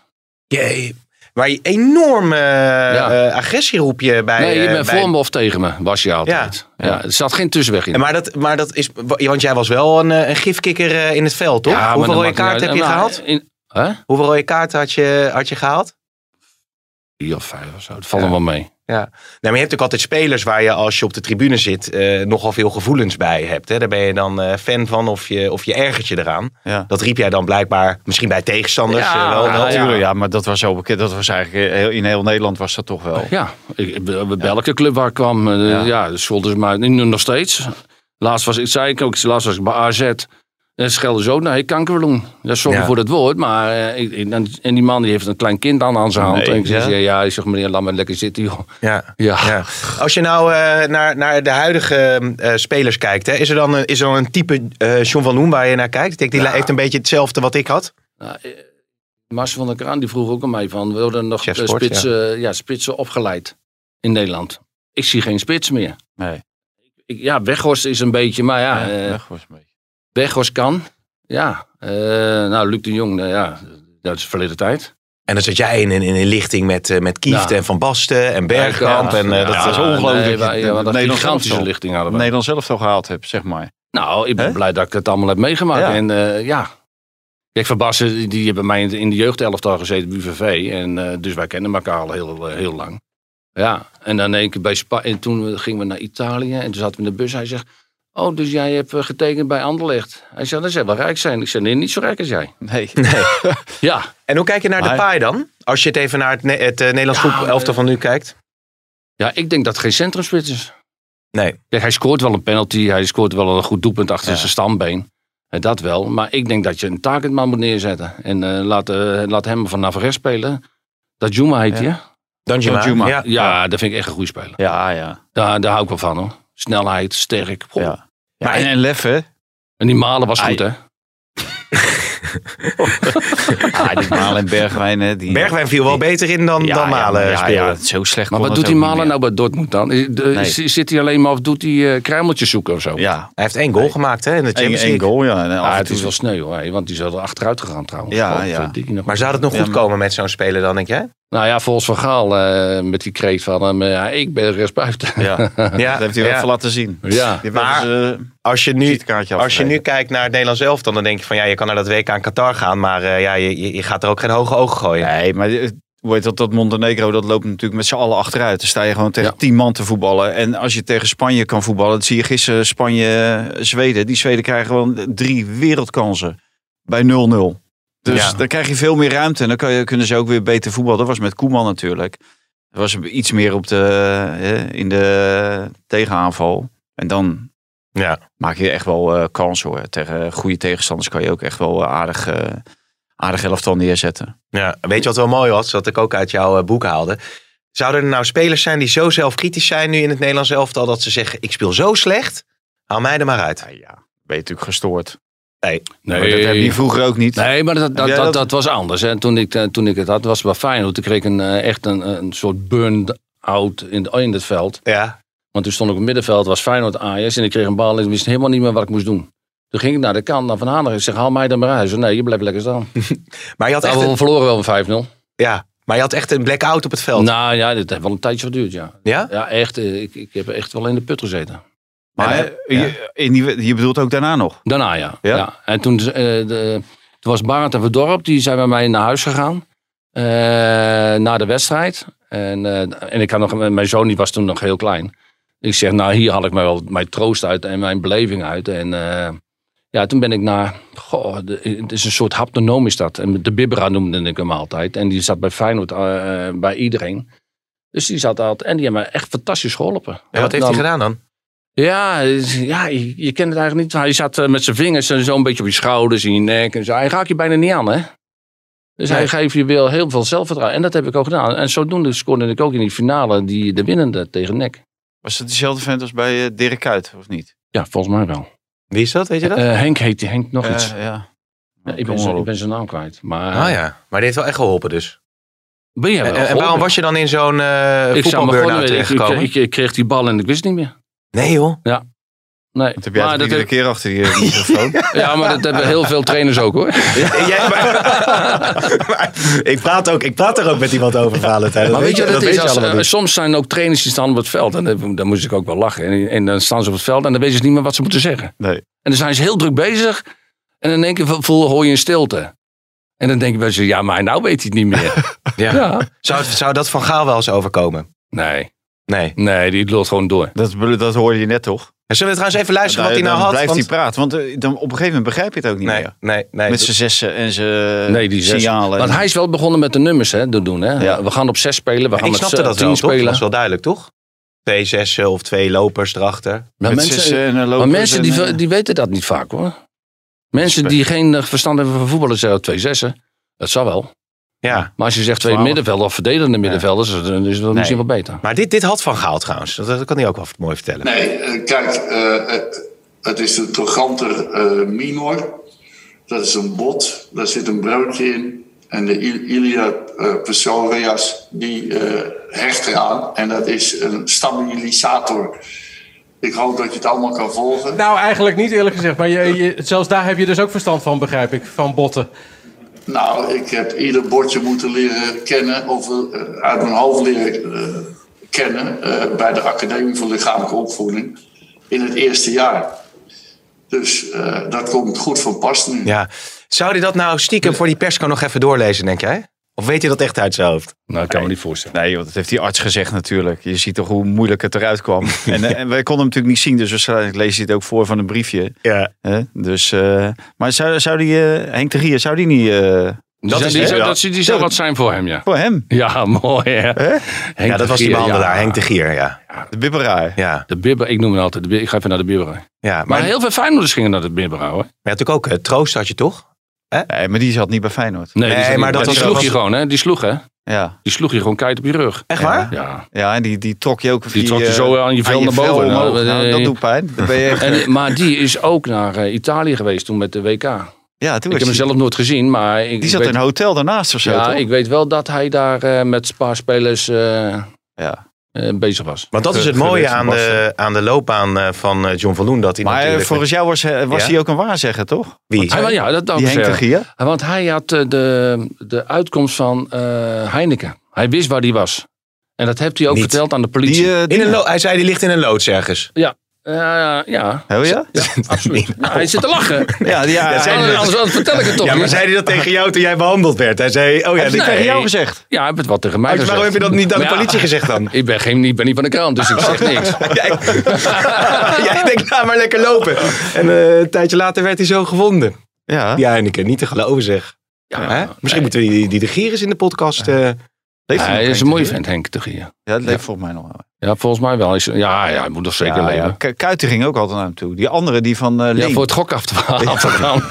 Jee. Waar je enorm eh,
Ja.
eh, agressie roep je bij.
Nee, je
eh,
bent
bij-
voor me of tegen me, was je altijd. Ja. er zat geen tussenweg in.
En Maar dat, maar dat is, want jij was wel een, eh, een gifkikker eh, in het veld, toch?
Ja, maar
Hoeveel
dat
rode
maakt niet
kaarten heb
uit.
je
Maar
gehaald?
Nou, in- hè?
Hoeveel rode kaarten had je, had je gehaald?
Vier of vijf of zo, dat valt hem wel mee.
Ja. Nou, maar je hebt natuurlijk altijd spelers waar je als je op de tribune zit eh, nogal veel gevoelens bij hebt. Hè? Daar ben je dan eh, fan van of je, of je ergert je eraan.
Ja.
Dat riep jij dan blijkbaar misschien bij tegenstanders
Ja,
eh, wel.
Ja,
wel.
natuurlijk. Ja, maar dat was zo bekend. Dat was eigenlijk eh, heel- in heel Nederland was dat toch wel.
Ja, ik, ik- bij elke club waar ik kwam, eh,
Ja.
ja, scholden ze mij nu nog steeds. Laatst was ik, zei ik ook, laatst was ik bij AZ. En schelden nou, ze ook naar hey, kankerloen. Ja, sorry
Ja.
voor dat woord, maar eh, ik- ik- en- en die man die heeft een klein kind aan, aan zijn hand.
Nee,
en ik zeg,
ja.
ja, ja, ik zeg, meneer, laat me lekker zitten, joh.
Ja.
Ja,
Ja. Als je nou eh, naar, naar de huidige eh, spelers kijkt, hè, is, er dan een, is er dan een type eh John van Loen waar je naar kijkt? Ik denk, die
Ja.
heeft een beetje hetzelfde wat ik had.
Nou, eh, Mars van der Kraan die vroeg ook aan mij van, wilden er nog
Chef
eh,
sport,
spitsen, ja. spitsen opgeleid in Nederland? Ik zie geen spits meer.
Nee.
Ik, ja, Weghorst is een beetje, maar ja,
Ja,
eh,
weg was mee.
Weghorst kan. Ja, eh, nou, Luc de Jong, nou ja, dat is verleden tijd.
En dan zat jij in, in, in een lichting met, eh, met Kieft
Ja.
en Van Basten en Bergkamp.
Ja,
en, eh, dat
ja.
dat is ook-
ongelooflijk
Ah, Nee,
dat
wij-
je
ja, want een
Nederland
gigantische
zelf-
lichting hadden we.
Nederland zelf toch gehaald heb, zeg maar.
Nou, ik ben
Hè?
blij dat ik het allemaal heb meegemaakt.
Ja.
En eh, ja, kijk, Van Basten, die- die hebben mij in de- in de jeugdelftal gezeten, bij UVV. En, eh, dus wij kennen elkaar al heel, eh, heel lang. Ja, en dan één keer bij Spa en toen gingen we naar Italië en toen zaten we in de bus. Hij zegt, oh, dus jij hebt eh, getekend bij Anderlecht. Hij zei, dat zou wel rijk zijn. Ik zei, nee, niet zo rijk als jij.
Nee.
Ja,
En hoe kijk je naar de
Maar-
paai dan? Als je het even naar het, ne- het eh, Nederlands
Ja,
groep elftal van nu kijkt.
ja ik denk dat het geen centrumspits is.
Nee.
Kijk, hij scoort wel een penalty. Hij scoort wel een goed doelpunt achter zijn standbeen. Eh, Dat wel. Maar ik denk dat je een targetman moet neerzetten. En eh, laat, eh, laat hem vanaf rechts spelen. Dat Juma heet
Ja.
hij. hè?
Danjuma.
Danjuma.
Ja.
Ja, dat vind ik echt een goede speler.
Ja, ja.
Daar, daar hou ik wel van hoor. Snelheid, sterk. Goh.
ja. ja en, en lef, hè?
En die Malen was
Ai.
goed hè.
Ah, die Malen en Bergwijn, hè? Die,
Bergwijn viel wel beter in dan,
Ja,
dan Malen
ja,
spelen.
Ja, ja, zo slecht
Maar
kon
wat
het
doet die
ook niet
Malen
meer.
nou bij Dortmund dan? Is- de-
Nee.
is- Zit hij alleen maar of doet hij eh, kruimeltjes zoeken of zo?
Ja,
Hij heeft één goal gemaakt hè, in de
één
Champions
één
League.
goal, ja. En af
Ah,
en
het
toe-
is wel sneu hoor. hè, Want die is wel achteruit gegaan trouwens.
Ja,
God,
ja.
verdikkie nog.
Maar zou het nog goed komen met zo'n speler dan, denk jij?
Nou ja, volgens Van Gaal eh, met die kreet van hem. eh, ja, ik ben rechtsbuiten.
Ja, dat
Ja,
heeft hij wel
ja.
even laten zien.
Ja.
Die
Maar-
maar,
Als je nu,
eh, visitekaartje
als je nu
afgegeven.
kijkt naar het Nederlands elftal, dan denk je van ja, je kan naar dat WK aan Qatar gaan, maar eh, ja, je, je- je gaat er ook geen hoge ogen gooien.
nee, maar eh, hoe heet dat, dat Montenegro, dat loopt natuurlijk met z'n allen achteruit. Dan sta je gewoon tegen
Ja.
tien man te voetballen. En als je tegen Spanje kan voetballen, dat zie je gisteren Spanje, eh, Zweden. Die Zweden krijgen gewoon drie wereldkansen bij 0-0. Dus
Ja.
dan krijg je veel meer ruimte en dan kan je, kunnen ze ook weer beter voetballen. Dat was met Koeman natuurlijk. Er was iets meer op de, eh, in de tegenaanval. En dan
Ja.
maak je echt wel eh kans hoor. Tegen goede tegenstanders kan je ook echt wel eh, aardig, eh aardig elftal neerzetten.
Ja, weet je wat wel mooi was? Wat ik ook uit jouw eh, boek haalde. Zouden er nou spelers zijn die zo zelfkritisch zijn nu in het Nederlands elftal dat ze zeggen: Ik speel zo slecht, haal mij er maar uit.
Ja, ja. Ben je natuurlijk gestoord.
Nee,
Maar dat heb je vroeger ook niet.
nee maar dat, dat,
jij
dat,
dat-
dat was anders. En toen ik, eh, toen ik het had, was het wel fijn. Want ik kreeg ik een, eh, echt een, een soort burn-out in, in het veld.
Ja,
Want toen stond ik op het middenveld, was Feyenoord Ajax. En ik kreeg een bal en ik wist helemaal niet meer wat ik moest doen. Toen ging ik naar de kant, naar Van Hanen. Ik zeg, haal mij dan maar uit. Hij zei, nee, je blijft lekker staan.
maar je had echt,
Nou, we
een,
verloren wel een 5-0.
ja, maar je had echt een blackout op het veld.
Nou ja, dit heeft wel een tijdje geduurd, ja.
ja?
Ja, echt. eh, Ik, ik heb echt wel in de put gezeten.
Maar
En,
eh, je, in die, je bedoelt ook daarna nog?
Daarna ja.
Ja?
ja? En toen, eh, de, toen was Barend en Verdorp, die zijn bij mij naar huis gegaan. eh, na de wedstrijd. En, eh, en ik had nog, mijn zoon die was toen nog heel klein. Ik zeg, nou hier haal ik mij wel mijn troost uit en mijn beleving uit. En eh, ja, toen ben ik naar, goh, de- het is een soort haptonoom is dat. En de Bibbera noemde ik hem altijd. En die zat bij Feyenoord, eh, eh, bij iedereen. Dus die zat altijd, en die hebben me echt fantastisch geholpen.
En wat heeft hij
Dan-
gedaan dan?
ja, is- ja je, je kent het eigenlijk niet. Hij zat eh, met zijn vingers en zo een beetje op je schouders, in je nek en zo. Hij raakt je bijna niet aan, hè? Dus hij geeft je wel heel veel zelfvertrouwen. En dat heb ik ook gedaan. En zodoende scoorde ik ook in die finale die, de winnende tegen Nek.
Was het dezelfde vent als bij eh, Dirk Kuyt, of niet?
Ja, volgens mij wel.
Wie is dat? Weet je dat?
Eh, Henk heet die, Henk nog
Eh,
iets.
ja.
Ja, ik,
Kom
ben zijn,
maar
ik
op.
ben zijn naam kwijt. Maar
ah ja, maar die heeft wel echt geholpen dus.
ben je
En, en waarom was je dan in zo'n eh nou
ik zou me
voetbalburn-out
gewoon, ik, ik,
terechtgekomen?
ik- ik kreeg die bal en ik wist het niet meer.
Nee joh.
Ja. Nee.
Dat heb jij
maar
toch
dat
iedere
heb,
keer achter je microfoon.
ja, maar dat hebben heel veel trainers ook hoor.
Jij, maar, maar ik, praat ook, ik praat er ook met iemand over, Valentijn.
Maar weet je,
je-
wat het
weet
is
je
als,
allemaal
eh,
niet.
soms zijn ook trainers die staan op het veld. En dan, dan moest ik ook wel lachen. En, en dan staan ze op het veld en dan weten ze niet meer wat ze moeten zeggen.
Nee.
En dan zijn ze heel druk bezig. En in één keer vo- voel, hoor je een stilte. En dan denk je bij ze, ja, maar nou weet hij het niet meer.
Ja.
ja.
Zou, zou dat van Gaal wel eens overkomen?
Nee,
Nee.
nee, die lult gewoon door.
Dat, dat hoorde je net toch?
En Zullen we trouwens even luisteren
Dan-
wat hij nou
dan
had?
blijft
Want-
hij praten. Want eh, dan, op een gegeven moment begrijp je het ook niet
Nee,
meer.
nee, nee.
Met zijn zessen en zijn
Nee, die zes.
signalen.
Want hij is wel begonnen met de nummers hè, te doen. Hè.
Ja.
We gaan op zes spelen, we
En
gaan
ik
met
snapte
z'n-
dat
tien
wel, toch? Dat
spelen.
was wel duidelijk, toch? Twee zessen of twee lopers erachter.
Maar
Met
mensen,
zessen en, eh,
maar
lopers
mensen
en,
die,
eh,
ve- die weten dat niet vaak hoor. Mensen die geen eh, verstand hebben van voetballen zeggen twee zessen. Dat zal wel.
Ja.
Maar als je zegt twee
Twaalf.
middenvelden of verdedigende middenvelders, dan is dat misschien wel beter.
Maar dit, dit had Van Gaal trouwens. Dat, dat kan hij ook wel mooi vertellen.
Nee, eh, kijk, eh, eh, het is een trochanter eh, minor. Dat is een bot, daar zit een breukje in. En de I- ilia eh, psoarias, die eh, hecht eraan. En dat is een stabilisator. Ik hoop dat je het allemaal kan volgen.
Nou, eigenlijk niet eerlijk gezegd. Maar je, je, zelfs daar heb je dus ook verstand van, begrijp ik. Van botten.
Nou, ik heb ieder bordje moeten leren kennen, of eh, uit mijn hoofd leren eh, kennen, eh, bij de Academie voor Lichamelijke Opvoeding in het eerste jaar. Dus eh, dat komt goed van pas nu.
Ja. Zou hij dat nou stiekem voor die persco nog even doorlezen, denk jij? Of weet hij dat echt uit zijn hoofd?
Nou, ik kan me niet voorstellen.
Nee, joh, dat heeft die arts gezegd natuurlijk. Je ziet toch hoe moeilijk het eruit kwam. en, eh, en wij konden hem natuurlijk niet zien, dus waarschijnlijk lees je het ook voor van een briefje.
Ja.
Hè? Dus, eh, maar zou, zou die, eh, Henk de Gier, zou die niet eh,
Dat,
is
is, die,
het,
zou-
Dus ja.
dat, zou- die zou wat zijn voor hem, ja.
voor hem,
Ja, mooi hè. Henk
Ja,
de
dat was die
Gier,
behandelaar,
ja.
Henk de Gier. Ja.
de bibberaar?
Ja.
De bibber, ik noem hem altijd. De bibber, ik ga even naar de bibber. Maar,
ja. Maar, maar,
heel veel Feyenoorders gingen naar de bibber hoor.
je had natuurlijk ook eh, Troost had je toch?
Nee, maar die zat niet bij Feyenoord.
Nee,
Nee,
die,
maar
maar
dat
die
was-
sloeg
was-
je gewoon hè. Die sloeg hè.
Ja,
Die sloeg je gewoon keihard op je rug.
Echt waar?
Ja.
ja en die, die trok je ook...
Die trok je zo
eh,
aan je vel naar
vel
boven.
omhoog.
Nou,
Nou,
eh,
dat doet pijn. Dan ben je echt,
En, eh, maar die is ook naar eh, Italië geweest toen met de WK.
ja, toen
ik
was
heb hem
die,
zelf nooit gezien, maar... Ik,
die
ik
zat
weet-
nou
in een hotel daarnaast of zo,
Ja,
toch?
ik weet wel dat hij daar eh, met een paar spelers eh,
Ja.
eh, bezig was.
Want dat
Ge-
is het mooie
geweest van
aan de, aan de loopbaan eh, van eh, John van Loen. Dat hij
Maar eh,
natuurlijk...
volgens jou was, eh, was
Ja?
hij ook een waarzegger, toch?
Wie?
Hij, ja, dat
Die Henk de Gier?
Ja, Want hij had eh, de, de uitkomst van eh, Heineken. Hij wist waar hij was. En dat heeft hij ook
Niet.
verteld aan de politie.
Die, eh, die-
In een lo- hij zei, die ligt in een loods ergens.
Eh, ja,
Oh ja?
absoluut. Ja, hij zit te lachen.
Ja, die- ja,
Ja, zei-
hij-
Anders, anders vertel ik het toch
Ja, maar
niet.
zei hij dat tegen jou toen jij behandeld werd? Hij zei, oh ja,
Heb je
die-
tegen jou
Nee.
gezegd?
Ja, hij heeft het wat tegen mij
Maar
gezegd.
Waarom heb je dat niet aan de
Maar ja,
politie gezegd dan?
Ik ben, geen, ik ben niet van de krant, dus ik zeg niks.
Jij, jij denkt, laat maar lekker lopen. En eh, een tijdje later werd hij zo gevonden.
Ja.
Die Heineken, niet te geloven zeg.
Ja,
Hè? Misschien moeten we die, die de Gier eens in de podcast... eh,
Leeft hij nog,
Hij
Henk
is
de
een mooie
Gier?
vent, Henk de Gier.
Ja, dat leeft volgens mij nog wel.
Ja, volgens mij wel. Hij is- Ja, ja, hij moet nog zeker
Ja,
leven.
ja.
Ja.
Ku- Kuiten ging ook altijd naar hem toe. Die andere, die van eh Leen.
voor het gok af te af te gaan.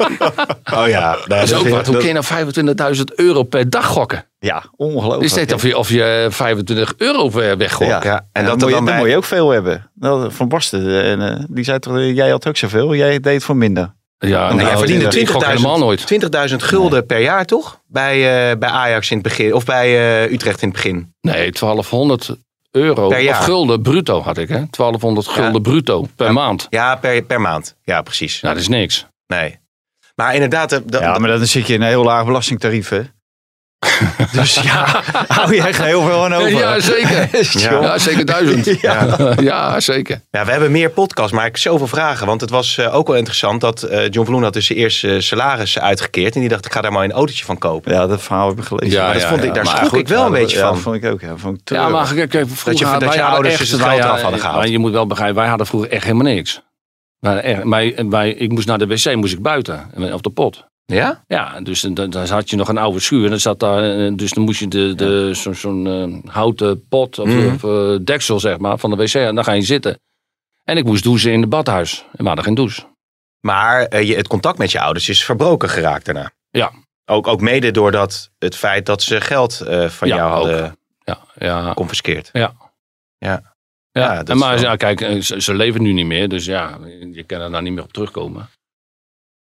Oh ja. nou,
Dat is ook
vind-
wat. Hoe
dat-
kun je nou 25.000 euro per dag gokken?
Ja, ongelooflijk.
is net of je, of je 25 euro we- weggokt.
Ja.
Ja,
En
en
dat
dat
moet,
er
je,
dan
dan
bij-
moet je ook veel hebben. Nou, Van Barsten, en, eh, die zei toch, eh, jij had ook zoveel, jij deed het voor minder.
Ja,
Nou, hij
ik
verdiende
gok helemaal nooit.
20.000 gulden per jaar, toch? Bij, eh, bij Ajax in het begin. Of bij eh, Utrecht in het begin.
Nee, 1200 euro
Per jaar.
of gulden bruto had ik. Hè? 1200 gulden bruto per maand.
Ja, per, per maand. Ja, precies.
Nou, dat is niks.
Nee. Maar inderdaad... eh, dat-
Ja, maar dan zit je in een heel laag belastingtarief, hè. dus ja, hou je echt heel veel aan over.
Ja, zeker.
Ja.
Ja, zeker duizend. Ja, zeker.
Ja, we hebben meer podcasts, maar ik heb zoveel vragen. Want het was eh, ook wel interessant dat eh, John Vloen had dus zijn eerste salaris uitgekeerd. En die dacht, ik ga daar maar een autootje van kopen.
Ja, dat verhaal heb ik gelezen.
Ja,
Maar
dat
dat-
vond ik, daar
maar
schrok
goed,
ik wel
ja,
een
dat-
beetje
ja,
van.
dat vond ik ook. Ja, vond ik
Ja,
treurig.
maar kijk, kijk, vroeger
Dat je- dat
wij
je
hadden
ouders
echt-
dus het
wij
geld
hadden-
eraf hadden gehaald.
Maar je moet wel begrijpen, wij hadden vroeger echt helemaal niks. Maar echt, maar wij, ik moest naar de wc, moest ik buiten. Op de pot.
Ja?
Ja, dus dan, dan dan had je nog een oude schuur. En dan zat daar, eh, dus dan moest je de, de, zo- zo'n eh, houten pot of,
Mhm.
of, eh, deksel zeg maar, van de wc. En dan ga je zitten. En ik moest douchen in het badhuis. En we hadden geen douche.
Maar eh, je, het contact met je ouders is verbroken geraakt daarna.
Ja.
Ook, ook mede doordat het feit dat ze geld eh, van
Ja,
jou hadden
Ja, ja.
confiskeerd.
ja.
dat
En
is
maar
wel-
ja, kijk, eh, ze, ze leven nu niet meer. Dus ja, je kan er daar niet meer op terugkomen.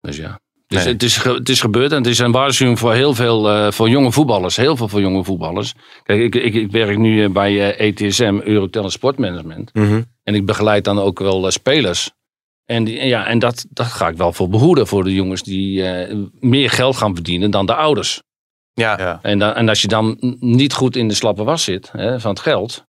Dus ja. Dus
Nee.
het, is, ge- het is gebeurd en het is een waarschuwing voor heel veel eh, voor jonge voetballers. Heel veel voor jonge voetballers. Kijk, ik, ik, ik werk E nu eh, bij eh, ETSM, Eurotel en Sportmanagement.
Mhm.
En ik begeleid dan ook wel eh, spelers. En, die- en ja, en dat, dat ga ik wel voor behoeden. Voor de jongens die eh, meer geld gaan verdienen dan de ouders.
Ja.
Ja.
En, dan, en als je dan n- niet goed in de slappe was zit hè, van het geld.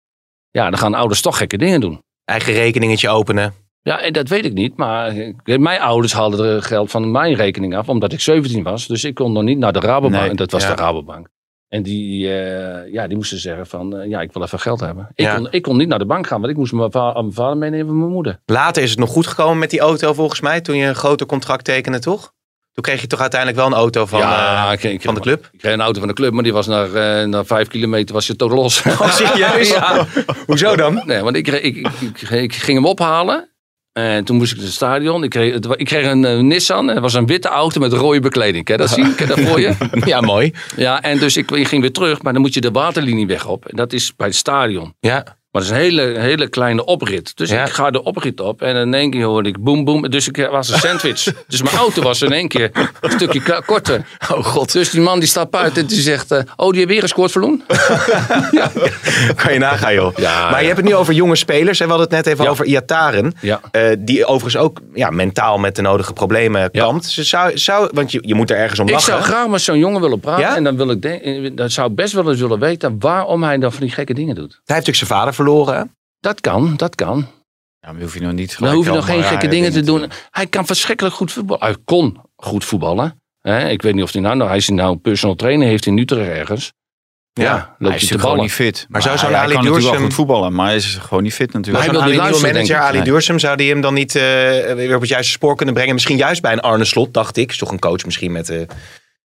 Ja, dan gaan ouders toch gekke dingen doen.
Eigen rekeningetje openen.
Ja, en dat weet ik niet. Maar eh, mijn ouders haalden er geld van mijn rekening af. Omdat ik 17 was. Dus ik kon nog niet naar de Rabobank.
Nee,
dat was
ja.
de Rabobank. En die, eh, ja, die moesten zeggen van, eh, ja, ik wil even geld hebben. Ik,
Ja.
kon, ik kon niet naar de bank gaan, want ik moest mijn, va- mijn vader meenemen en mijn moeder.
Later is het nog goed gekomen met die auto volgens mij. Toen je een groter contract tekende, toch? Toen kreeg je toch uiteindelijk wel een auto van, eh,
ik- ik-
van de club?
Ik kreeg een auto van de club, maar die was na, eh, na vijf kilometer was je tot los.
Oh, serieus?
ja.
Hoezo dan?
Nee, want ik, kreeg- ik, ik, ik, ik ging hem ophalen. En toen moest ik naar het stadion. Ik kreeg, het wa- ik kreeg een eh, Nissan. Het was een witte auto met rode bekleding. Ken je dat zien? Ken je dat voor je?
Ja, mooi.
Ja, en dus ik, ik ging weer terug. Maar dan moet je de waterlinie weg op. En dat is bij het stadion.
Ja.
Maar dat is een hele, hele kleine oprit. Dus
Ja.
ik ga de oprit op. En in één keer hoorde ik boem, boem. Dus ik was een sandwich. dus mijn auto was in één keer een stukje ka- korter.
Oh god,
Dus die man die stapt uit en die zegt... eh, oh, die heeft weer gescoord, Verloen?
kan je nagaan joh.
Ja,
maar je
ja.
hebt het nu over jonge spelers. Hè? We hadden het net even
Ja.
over Iataren.
Ja.
Eh, die overigens ook ja, mentaal met de nodige problemen
Ja.
kampt. Ze zou, zou, want je, je moet er ergens om
Ik
lachen.
zou graag met zo'n jongen willen praten.
Ja?
En dan, wil ik denk- dan zou ik best wel eens willen weten... waarom hij dan van die gekke dingen doet.
Hij heeft natuurlijk zijn vader verloren. hè?
Dat kan, dat kan.
Ja, maar hoef je nog niet
Dan
gelijk
hoef je nog
allemaal
geen
rare
gekke dingen te doen.
doen.
Hij kan verschrikkelijk goed voetballen. Hij kon goed voetballen. Hè, ik weet niet of hij nou, nou, hij is nou een personal trainer, heeft in Utrecht ergens. Ja,
Hij
loopt
is
je te
natuurlijk gewoon
ballen.
niet fit. Maar,
zou zo'n
hij, hij
Ali
kan natuurlijk wel
Doorsum-
goed voetballen, maar hij is gewoon niet fit natuurlijk.
Zo'n
Maar hij wil
Ali-
niet
nieuwe
luisteren,
manager
denk ik.
Ali
Nee.
Duursum, zou die hem dan niet eh, weer op het juiste spoor kunnen brengen? Misschien juist bij een Arne Slot, dacht ik. Is toch een coach misschien met eh,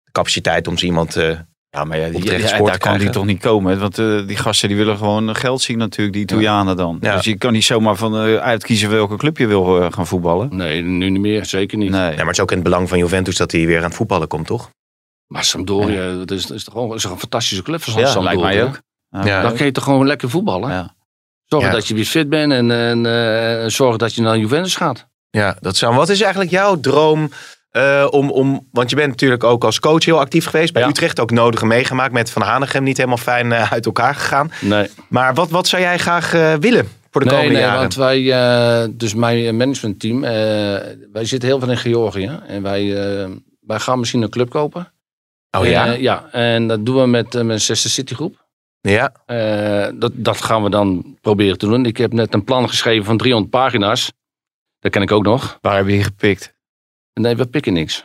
de capaciteit om ze iemand... eh,
Ja, maar ja, die,
Om terecht
ja,
sport te
daar kan
krijgen.
die toch niet komen. hè? Want eh, die gasten die willen gewoon eh, geld zien natuurlijk, die Italianen dan.
Ja.
Dus je kan niet zomaar van eh, uitkiezen welke club je wil eh, gaan voetballen.
Nee, nu niet meer, zeker niet.
Nee.
Nee, maar het is ook in het belang van Juventus dat hij weer aan het voetballen komt, toch?
Maar Sampdoria, dat is, dat is toch gewoon dat is toch een fantastische club van
Ja,
Sampdoria.
lijkt mij ook. Ja.
Ja.
Dan kun je toch gewoon lekker voetballen.
Ja.
Zorg
Ja.
dat je weer fit bent en, en eh, zorg dat je naar Juventus gaat.
Ja, dat zou. Wat is eigenlijk jouw droom? eh, om, om, want je bent natuurlijk ook als coach heel actief geweest. Bij
Ja.
Utrecht ook nodige meegemaakt. Met Van Hanegem niet helemaal fijn eh, uit elkaar gegaan.
Nee,
Maar wat, wat zou jij graag eh, willen voor de
nee,
komende
nee
jaren?
want wij, eh, dus mijn managementteam, eh, wij zitten heel veel in Georgië. En wij, eh, wij gaan misschien een club kopen.
Oh ja?
Eh, ja, en dat doen we met eh, Manchester City groep.
ja.
Eh, dat, dat gaan we dan proberen te doen. Ik heb net een plan geschreven van 300 pagina's. Dat ken ik ook nog.
Waar heb je die gepikt?
Nee, we pikken niks.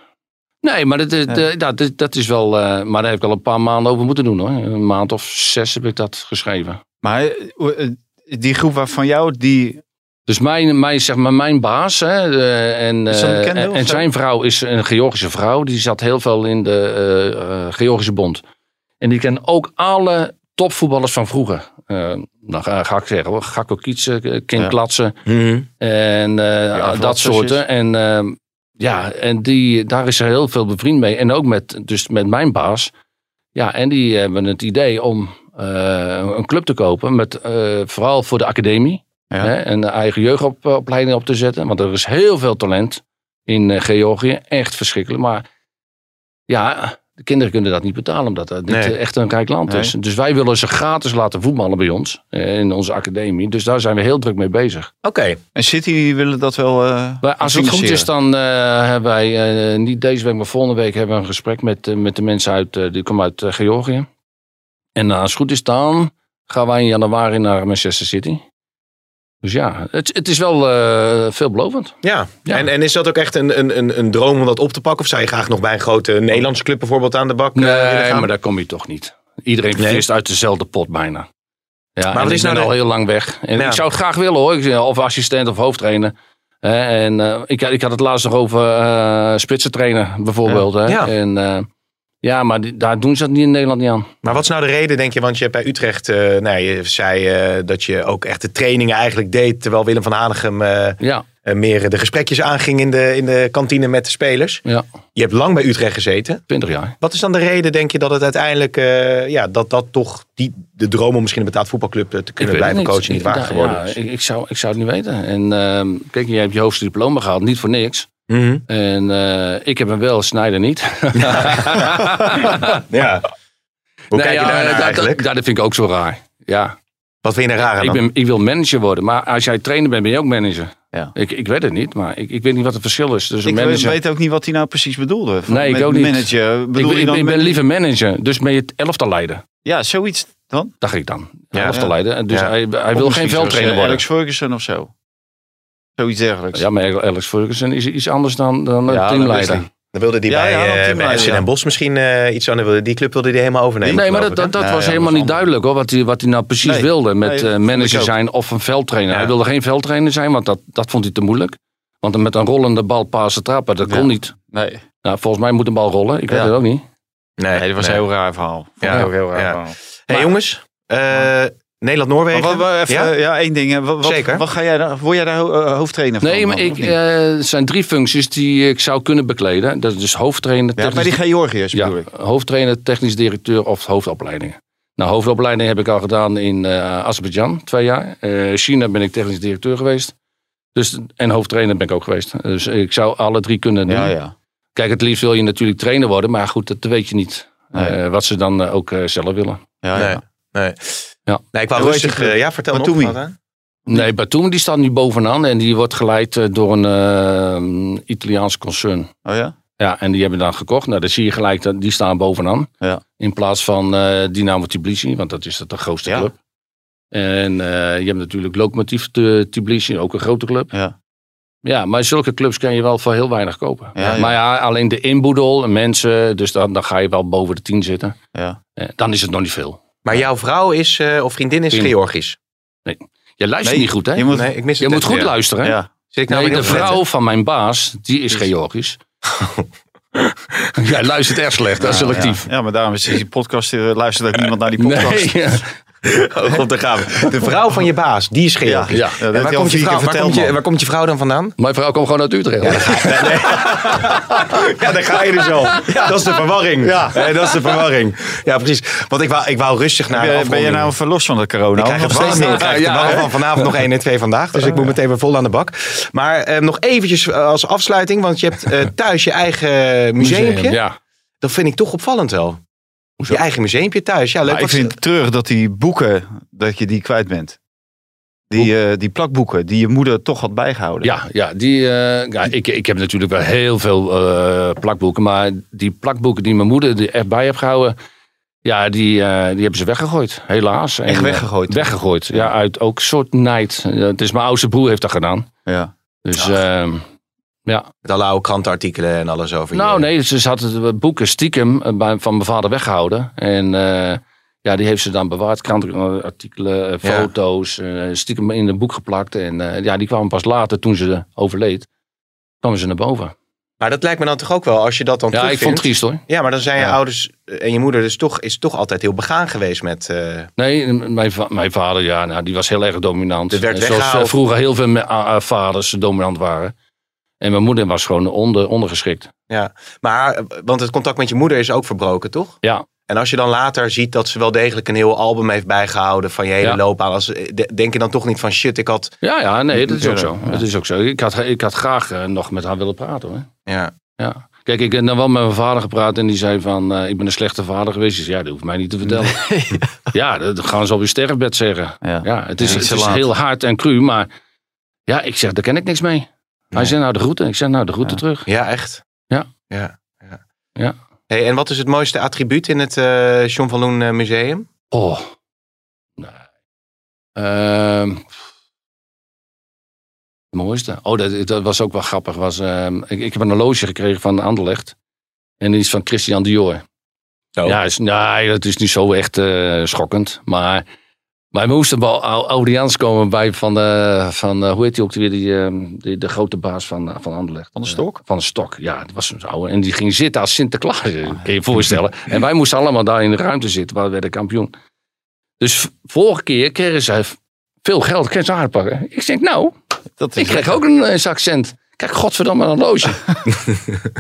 Nee, maar dat, dat,
Nee.
eh, dat, dat- dat is wel. eh, maar daar heb ik al een paar maanden over moeten doen hoor. Een maand of zes heb ik dat geschreven.
Maar eh, eh, die groep waar- van jou, die...
Dus mijn, mijn, zeg maar mijn baas hè, eh, en,
Is dat een
eh,
bekende
en,
of
en
zo?
zijn vrouw is een Georgische vrouw. Die zat heel veel in de eh, eh, Georgische Bond. En die kent ook alle topvoetballers van vroeger. Eh nou, ga, ga ik zeggen hoor. Gakko Kietsen, eh, Kim
Ja.
Klatsen. En eh,
vooral
dat soorten.
tusjes.
En ehm, ja, en die, daar is ze heel veel bevriend mee. En ook met, dus met mijn baas. Ja, en die hebben het idee om eh, een club te kopen. Met, eh, vooral voor de academie.
Ja.
Hè, en de eigen jeugdopleiding op te zetten. Want er is heel veel talent in eh, Georgië. Echt verschrikkelijk. Maar ja, de kinderen kunnen dat niet betalen. Omdat dat dit
Nee.
eh, echt een rijk land
Nee.
is. Dus wij willen ze gratis laten voetballen bij ons. eh, in onze academie. Dus daar zijn we heel druk mee bezig.
Oké.
En City die willen dat wel... eh,
Maar als het goed
financieren.
is, dan eh, hebben wij eh, niet deze week, maar volgende week hebben we een gesprek met, eh, met de mensen uit, eh, die komen uit eh, Georgië. En eh, als het goed is, dan gaan wij in januari naar Manchester City. Dus ja, het, het is wel eh, veelbelovend.
Ja.
Ja.
En, en is dat ook echt een, een, een, een droom om dat op te pakken? Of zou je graag nog bij een grote Nederlandse club bijvoorbeeld aan de bak eh, willen
Nee,
gaan?
maar daar kom je toch niet. Iedereen
Nee.
vist uit dezelfde pot bijna. Ja, maar
wat
ik
is
ben
nou de-
al heel lang weg. En
Ja.
Ik zou het graag willen hoor, Ik- of assistent of hoofdtrainer. Hè, en eh, ik, ik had het laatst nog over eh spitsentrainer bijvoorbeeld. Hè?
Ja.
En, eh, ja, maar die- daar doen ze dat niet in Nederland niet aan.
Maar wat is nou de reden, denk je? Want je hebt bij Utrecht, eh nou, je zei eh, dat je ook echt de trainingen eigenlijk deed. Terwijl Willem van Hanegem eh,
Ja,
eh, meer de gesprekjes aanging in de, in de kantine met de spelers.
ja,
Je hebt lang bij Utrecht gezeten.
20 jaar.
Wat is dan de reden, denk je, dat het uiteindelijk, eh, ja, dat dat toch die, de droom om misschien een betaald voetbalclub eh, te
Ik
kunnen
weet
blijven
het
coachen niet waar
Ja,
geworden dus.
ja,
is?
ik, ik, zou, ik zou het niet weten. En ehm, kijk, je hebt je hoogste diploma gehaald, niet voor niks.
Mhm.
En eh, ik heb hem wel, Snijder niet.
Ja. Hoe kijk
Nee,
je
ja, eh,
daarnaar
dat-
eigenlijk?
Dat, dat vind ik ook zo raar. Ja.
Wat vind je er raar aan?
Ik,
dan?
ben, ik wil manager worden, maar als jij trainer bent, ben je ook manager.
Ja.
Ik, ik weet het niet, maar ik, ik weet niet wat het verschil is tussen
Ik
een manager.
weet ook niet wat hij nou precies bedoelde. Van
Nee, ik
met
ook niet.
Manager.
ik,
Bedoel
ben-
je
ik,
dan
ben- ik ben
met-
liever manager, dus met het elftal leiden.
Ja, zoiets dan.
Dacht ik dan.
Ja,
elftal
ja.
leiden. En Dus
Ja.
hij, hij
Of
wil
misschien
geen veldtrainer
zoals, eh,
worden.
Alex Ferguson of zo. Zoiets dergelijks.
Ja, maar Alex Ferguson is iets anders dan, dan
Ja,
een
dat
teamleider.
is
Dan wilde die
Ja,
bij,
ja,
eh,
dat
bij
teamleider,
FC
ja.
Den Bosch misschien eh, iets aan. Dan wilde- Die club wilde die helemaal overnemen.
nee, maar
geloof
dat, dat,
ik, hè?
dat
Nee,
was
ja,
helemaal
dat
niet
is
duidelijk hoor, wat hij, wat hij nou precies
Nee.
wilde met
Nee,
eh,
dat vond ik
manager
ook.
zijn of een veldtrainer.
Ja.
Hij wilde geen veldtrainer zijn, want dat, dat vond hij te moeilijk. Want met een rollende bal pasen trappen, dat
Ja.
kon niet.
Nee,
Nou, volgens mij moet een bal rollen, ik weet
Ja.
het ook niet.
nee, dat was een heel raar verhaal.
Ja.
Ja, heel, heel raar
Ja.
verhaal.
Hey, jongens, eh, Nederland-Noorwegen.
Maar wat, wat- even,
ja?
ja? ja, één ding. hè. Wat, wat,
Zeker.
Wat ga jij, daar- word jij daar ho- eh, hoofdtrainer van?
Nee, maar
dan,
ik,
of niet?
eh, er zijn drie functies die ik zou kunnen bekleden. Dat is dus hoofdtrainer,
ja, bij die
technisch-
Georgiërs
ja,
bedoel ik.
hoofdtrainer, technisch directeur of hoofdopleidingen. Nou, hoofdopleiding heb ik al gedaan in eh, Azerbeidzjan, twee jaar. Eh, China ben ik technisch directeur geweest. Dus, en hoofdtrainer ben ik ook geweest. Dus ik zou alle drie kunnen doen.
Ja, ja.
Kijk, het liefst wil je natuurlijk trainer worden, maar goed, dat weet je niet.
Nee.
Eh, wat ze dan eh, ook eh, zelf willen.
ja,
Nee.
ja.
Nee.
Ja.
nee, ik wou
Hoe heet
rustig...
die club?
eh, ja, vertel
Batumi.
nog. wat, hè?
Nee, Batum die staat nu bovenaan en die wordt geleid eh, door een eh, Italiaans concern.
Oh ja?
Ja, en die hebben dan gekocht. Nou, dan zie je gelijk, dat die staan bovenaan.
Ja.
In plaats van eh, Dynamo Tbilisi, want dat is dat de grootste
Ja.
club. En eh, je hebt natuurlijk Lokomotiv T- Tbilisi, ook een grote club.
Ja.
Ja, maar zulke clubs kan je wel voor heel weinig kopen.
Ja, ja.
Maar ja, alleen de inboedel, en mensen, dus dan, dan ga je wel boven de tien zitten.
Ja.
Eh, dan is het nog niet veel.
Maar jouw vrouw is, eh, of vriendin is
Pim.
Georgisch.
Je luistert
Nee,
niet goed, hè?
Je
Je,
moet,
Nee, ik mis het
moet
net
goed
weer.
luisteren. hè?
ja.
Zit ik nou
Nee,
weer
de
heel
vrouw van mijn baas, die is Georgisch. Jij luistert erg slecht, dat is selectief.
Ja, maar daarom is die podcast, eh, luistert ook niemand naar die podcast.
Nee, ja.
net? Oh, op de gaan. De vrouw van je baas, die is Georgisch.
Ja.
dat
En
heeft
waar,
hij al
komt je
vier keer
vrouw, waar,
verteld,
komt je,
man.
waar komt je vrouw dan vandaan?
Mijn vrouw komt gewoon uit Utrecht.
Ja, daar ga je dus al. Dat is de verwarring. Ja.
Eh,
dat is de verwarring. Ja, precies. Want ik wou, ik wou rustig naar
Ben
een
je- ben
afronding.
je nou verlost van de
Ik
corona?
krijg het
Nog
warm
steeds
niet. Ik
niet.
krijg het
Ja,
warm
hè?
van vanavond nog 1 en 2 vandaag. Dus ik moet meteen weer vol aan de bak. Maar eh, nog eventjes eh, als afsluiting. Want je hebt eh, thuis je eigen eh, museumpje.
Ja.
Dat vind ik toch opvallend wel. Je eigen museumpje thuis. Ja, leuk.
Maar Nou, ik
Wat-
vind het treurig dat die boeken, dat je die kwijt bent. Die, eh, die plakboeken die je moeder toch had bijgehouden.
Ja, ja, die, eh, ja ik, ik heb natuurlijk wel heel veel eh, plakboeken. Maar die plakboeken die mijn moeder er echt bij heeft gehouden. Ja, die, eh, die hebben ze weggegooid, helaas. En,
Echt
eh,
weggegooid?
weggegooid, ja. Uit ook soort nijd. Eh, Het is mijn oudste broer heeft dat gedaan.
Ja.
Dus ehm, ja.
Met alle oude krantenartikelen en alles over
Nou
je.
nee, ze ze had het boeken stiekem eh, bij- van mijn vader weggehouden. En eh, ja, die heeft ze dan bewaard. Krantenartikelen, eh,
Ja.
foto's, eh, stiekem in een boek geplakt. En eh, ja, die kwamen pas later, toen ze overleed, kwamen ze naar boven.
Maar dat lijkt me dan toch ook wel, als je dat dan
Ja, ik
terugvindt.
vond het triest hoor.
Ja, maar dan zijn je
Ja.
ouders eh, en je moeder dus toch, is toch altijd heel begaan geweest met... eh,
Nee, m- mijn, va- mijn vader, ja, nou, die was heel erg dominant.
Er werd
Eh, Zoals
weggehaald.
eh, vroeger heel veel me- a- a- vaders dominant waren. En mijn moeder was gewoon onder, ondergeschikt.
ja. Maar, eh, want het contact met je moeder is ook verbroken, toch?
Ja,
En als je dan later ziet dat ze wel degelijk een heel album heeft bijgehouden van je hele
Ja.
loopbaan. Als, eh, de- denk je dan toch niet van shit, ik had...
ja, ja nee, dat is ook zo.
Natuurlijk, ja.
Dat is ook zo. Ik, had, ik had graag eh, nog met haar willen praten hoor.
Ja,
Ja. Kijk, ik heb dan wel met mijn vader gepraat en die zei van, eh, ik ben een slechte vader geweest. Dus ja, dat hoeft mij niet te vertellen. Ja, dat gaan ze op je sterfbed zeggen.
Ja.
Ja, het is,
Ja, iets
het
te
is
laat.
heel hard en cru, maar ja, ik zeg, daar ken ik niks mee. Hij zei nou de groeten. Ik zeg nou de groeten terug.
ja echt.
Ja.
Ja. ja.
Ja.
Hey, en wat is het mooiste attribuut in het eh John van Loen eh, Museum?
Oh. Nee. Ehm, het mooiste. Oh, dat, dat was ook wel grappig. Was, ehm, ik, ik heb een horloge gekregen van Anderlecht. En die is van Christian Dior.
Oh.
Ja, is, nee, dat is niet zo echt eh, schokkend. Maar, maar we moesten wel au- audiënts komen bij van, eh, van eh, hoe heet die ook weer, die, ehm, die, de grote baas van, eh, van Anderlecht.
Van de stok?
Van de Stok, ja, dat was een oude. En die ging zitten als Sinterklaas, eh,
Ah,
kun je je voorstellen. En wij moesten allemaal daar in de ruimte zitten, waar we werden kampioen. Dus v- vorige keer kregen zij v- veel geld, kregen ze aanpakken. Ik denk, nou,
Dat
ik kreeg ook een, eh, zak cent. Kijk, godverdamme, een horloge.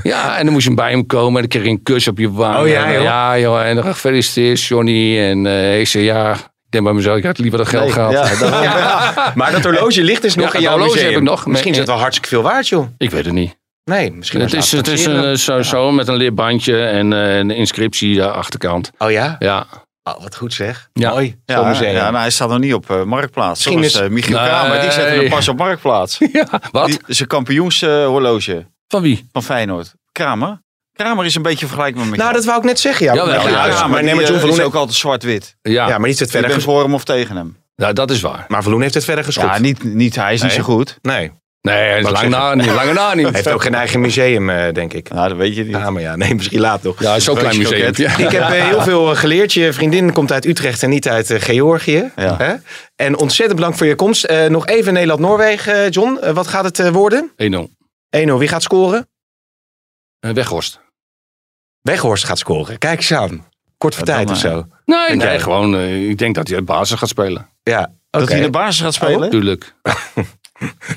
ja, en dan moest je bij hem komen en dan kreeg je een kus op je wang.
Oh, ja,
En, eh,
joh.
Ja, joh, en dan gefeliciteerd, Johnny. En eh, ik zei, ja, ik denk bij mezelf, ik had liever dat geld
Nee,
gehad.
ja, dat-
Maar dat horloge ligt dus nog
dat
in jouw
horloge
museum.
heb ik nog.
Misschien is het wel hartstikke veel waard, joh.
Ik weet het niet.
Nee, misschien
Het
maar
is,
laten
het is
taxeren.
een, eh, zo, zo met een leerbandje en eh, een inscriptie aan de eh, achterkant.
Oh ja?
Ja,
Oh, wat goed zeg.
Ja.
Mooi. Zo'n
Ja,
museum.
ja nou, hij staat nog niet op eh, Marktplaats.
Misschien
Zoals eh, Michiel
Nee.
Kramer, die zette hem pas op Marktplaats.
Ja, wat?
Die, zijn kampioenshorloge
Van wie?
van Feyenoord. Kramer? Kramer is een beetje vergelijkbaar met
nou,
jou.
dat wou ik net zeggen. Ja,
Ja, wel,
Nou,
ja,
juist.
ja,
maar, nee, maar
die,
John
eh, is
Verloen,
ook altijd zwart-wit.
Ja,
ja, maar niet het
Je
verder
bent
ge-
voor hem of tegen hem.
nou, dat is waar.
maar Verloen heeft het verder geschopt.
Ja, niet, niet, hij is niet
Nee.
zo goed.
Nee.
Nee, dat is
Wou ik
lang na niet. Lange na niet.
Hij heeft ook geen eigen museum, eh, denk ik.
Nou, dat weet je niet.
Ja, maar ja, nee, misschien later nog.
Ja, zo'n klein museum. Ja.
Ik heb eh, heel veel eh, geleerd. Je vriendin komt uit Utrecht en niet uit eh, Georgië.
Ja.
Hè? En ontzettend bedankt voor je komst. Eh, nog even Nederland-Noorwegen, eh, John. Eh, wat gaat het eh, worden?
1-0. Eh,
1-0, wie gaat scoren?
Weghorst.
Weghorst gaat scoren. Kijk eens aan. Kort voor
Ja, dan
tijd of
maar.
zo.
Nee,
jij?
nee gewoon, eh, ik denk dat hij uit basis gaat spelen. Oh,
Ja,
Dat
oké.
hij in de basis gaat spelen?
Tuurlijk.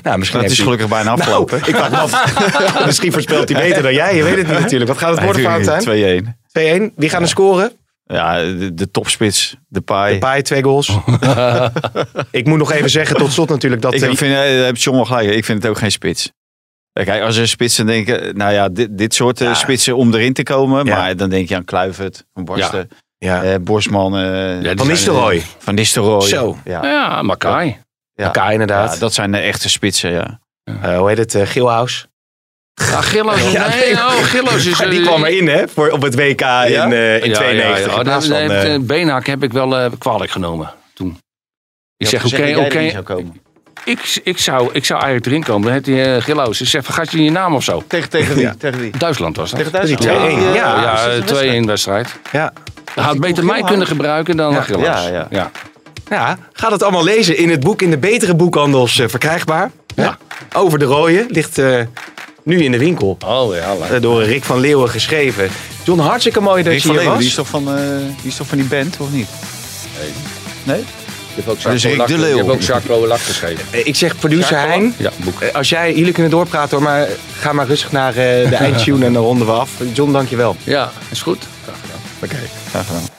nou, misschien
dat is
heeft
gelukkig bijna
hij-
afgelopen.
Nou, ik wou het af. misschien voorspelt hij beter dan jij. Je weet het niet natuurlijk. Wat gaat het worden, Foutijn?
2-1.
2-1. Wie gaan er scoren?
Ja, de, de topspits. De paai.
Depay, twee goals. ik moet nog even zeggen tot slot natuurlijk dat...
Ik
eh,
vind, eh, daar heb John wel gelijk. Ik vind het ook geen spits. Kijk, als er spitsen denken, nou ja, dit, dit soort eh, spitsen om erin te komen.
Ja.
Maar dan denk je aan Kluivert, van Barsten,
ja.
eh, Bosman, eh,
Ja, die
Van
zijn-
Nistelrooy.
Van Nistelrooy.
Zo.
Ja, ja.
Ja, Makai.
Elkaar inderdaad.
dat zijn de echte spitsen, ja.
Eh, hoe heet het? eh, Gilhaus.
Ja, Gillo's.
Ja,
Ah, Nee, oh, Gillo's is...
Maar die
eh,
kwam erin, hè? Voor, op het WK in, eh, in
Ja, Oh,
92.
Oh,
ja, ja.
in plaats
Nee,
van, eh,
nee, Beenhak heb ik wel eh, kwalijk genomen toen. Ik zeg, oké,
Zeg
oké,
dat jij erin zou komen.
ik, ik, zou, ik zou eigenlijk erin komen. Dan heeft die eh Gillo's. Ik zeg, vergat je je naam of zo?
Tegen, tegen wie? Tegen wie?
Duitsland was dat.
Tegen Duitsland.
Die 2-1.
eh,
Ja,
is
ja,
dat een
eh, 2-1
wedstrijd?
wedstrijd.
ja.
Hij had beter mij kunnen gebruiken dan ja, Gillo's.
ja, ja.
ja, ga dat allemaal lezen in het boek in de betere boekhandels eh, verkrijgbaar. hè?
Ja.
Over de rode ligt eh, nu in de winkel.
Oh ja, leuk.
Eh, door Rick van Leeuwen geschreven. John, hartstikke mooi dat
Rick
je
van
hier
Leeuwen, die is
was.
toch van, eh, die is toch van die band, of niet? Nee.
Je hebt ook
Dus
Jacques
Rick de
Lak-
Leeuw.
Je hebt ook Jacques Lak geschreven.
Eh, Ik zeg producer Hein.
Ja, boek.
eh, Als jij, jullie kunnen doorpraten hoor, maar ga maar rustig naar eh, de eindtune en dan ronden we af. John, dankjewel.
Ja, is goed.
Graag gedaan.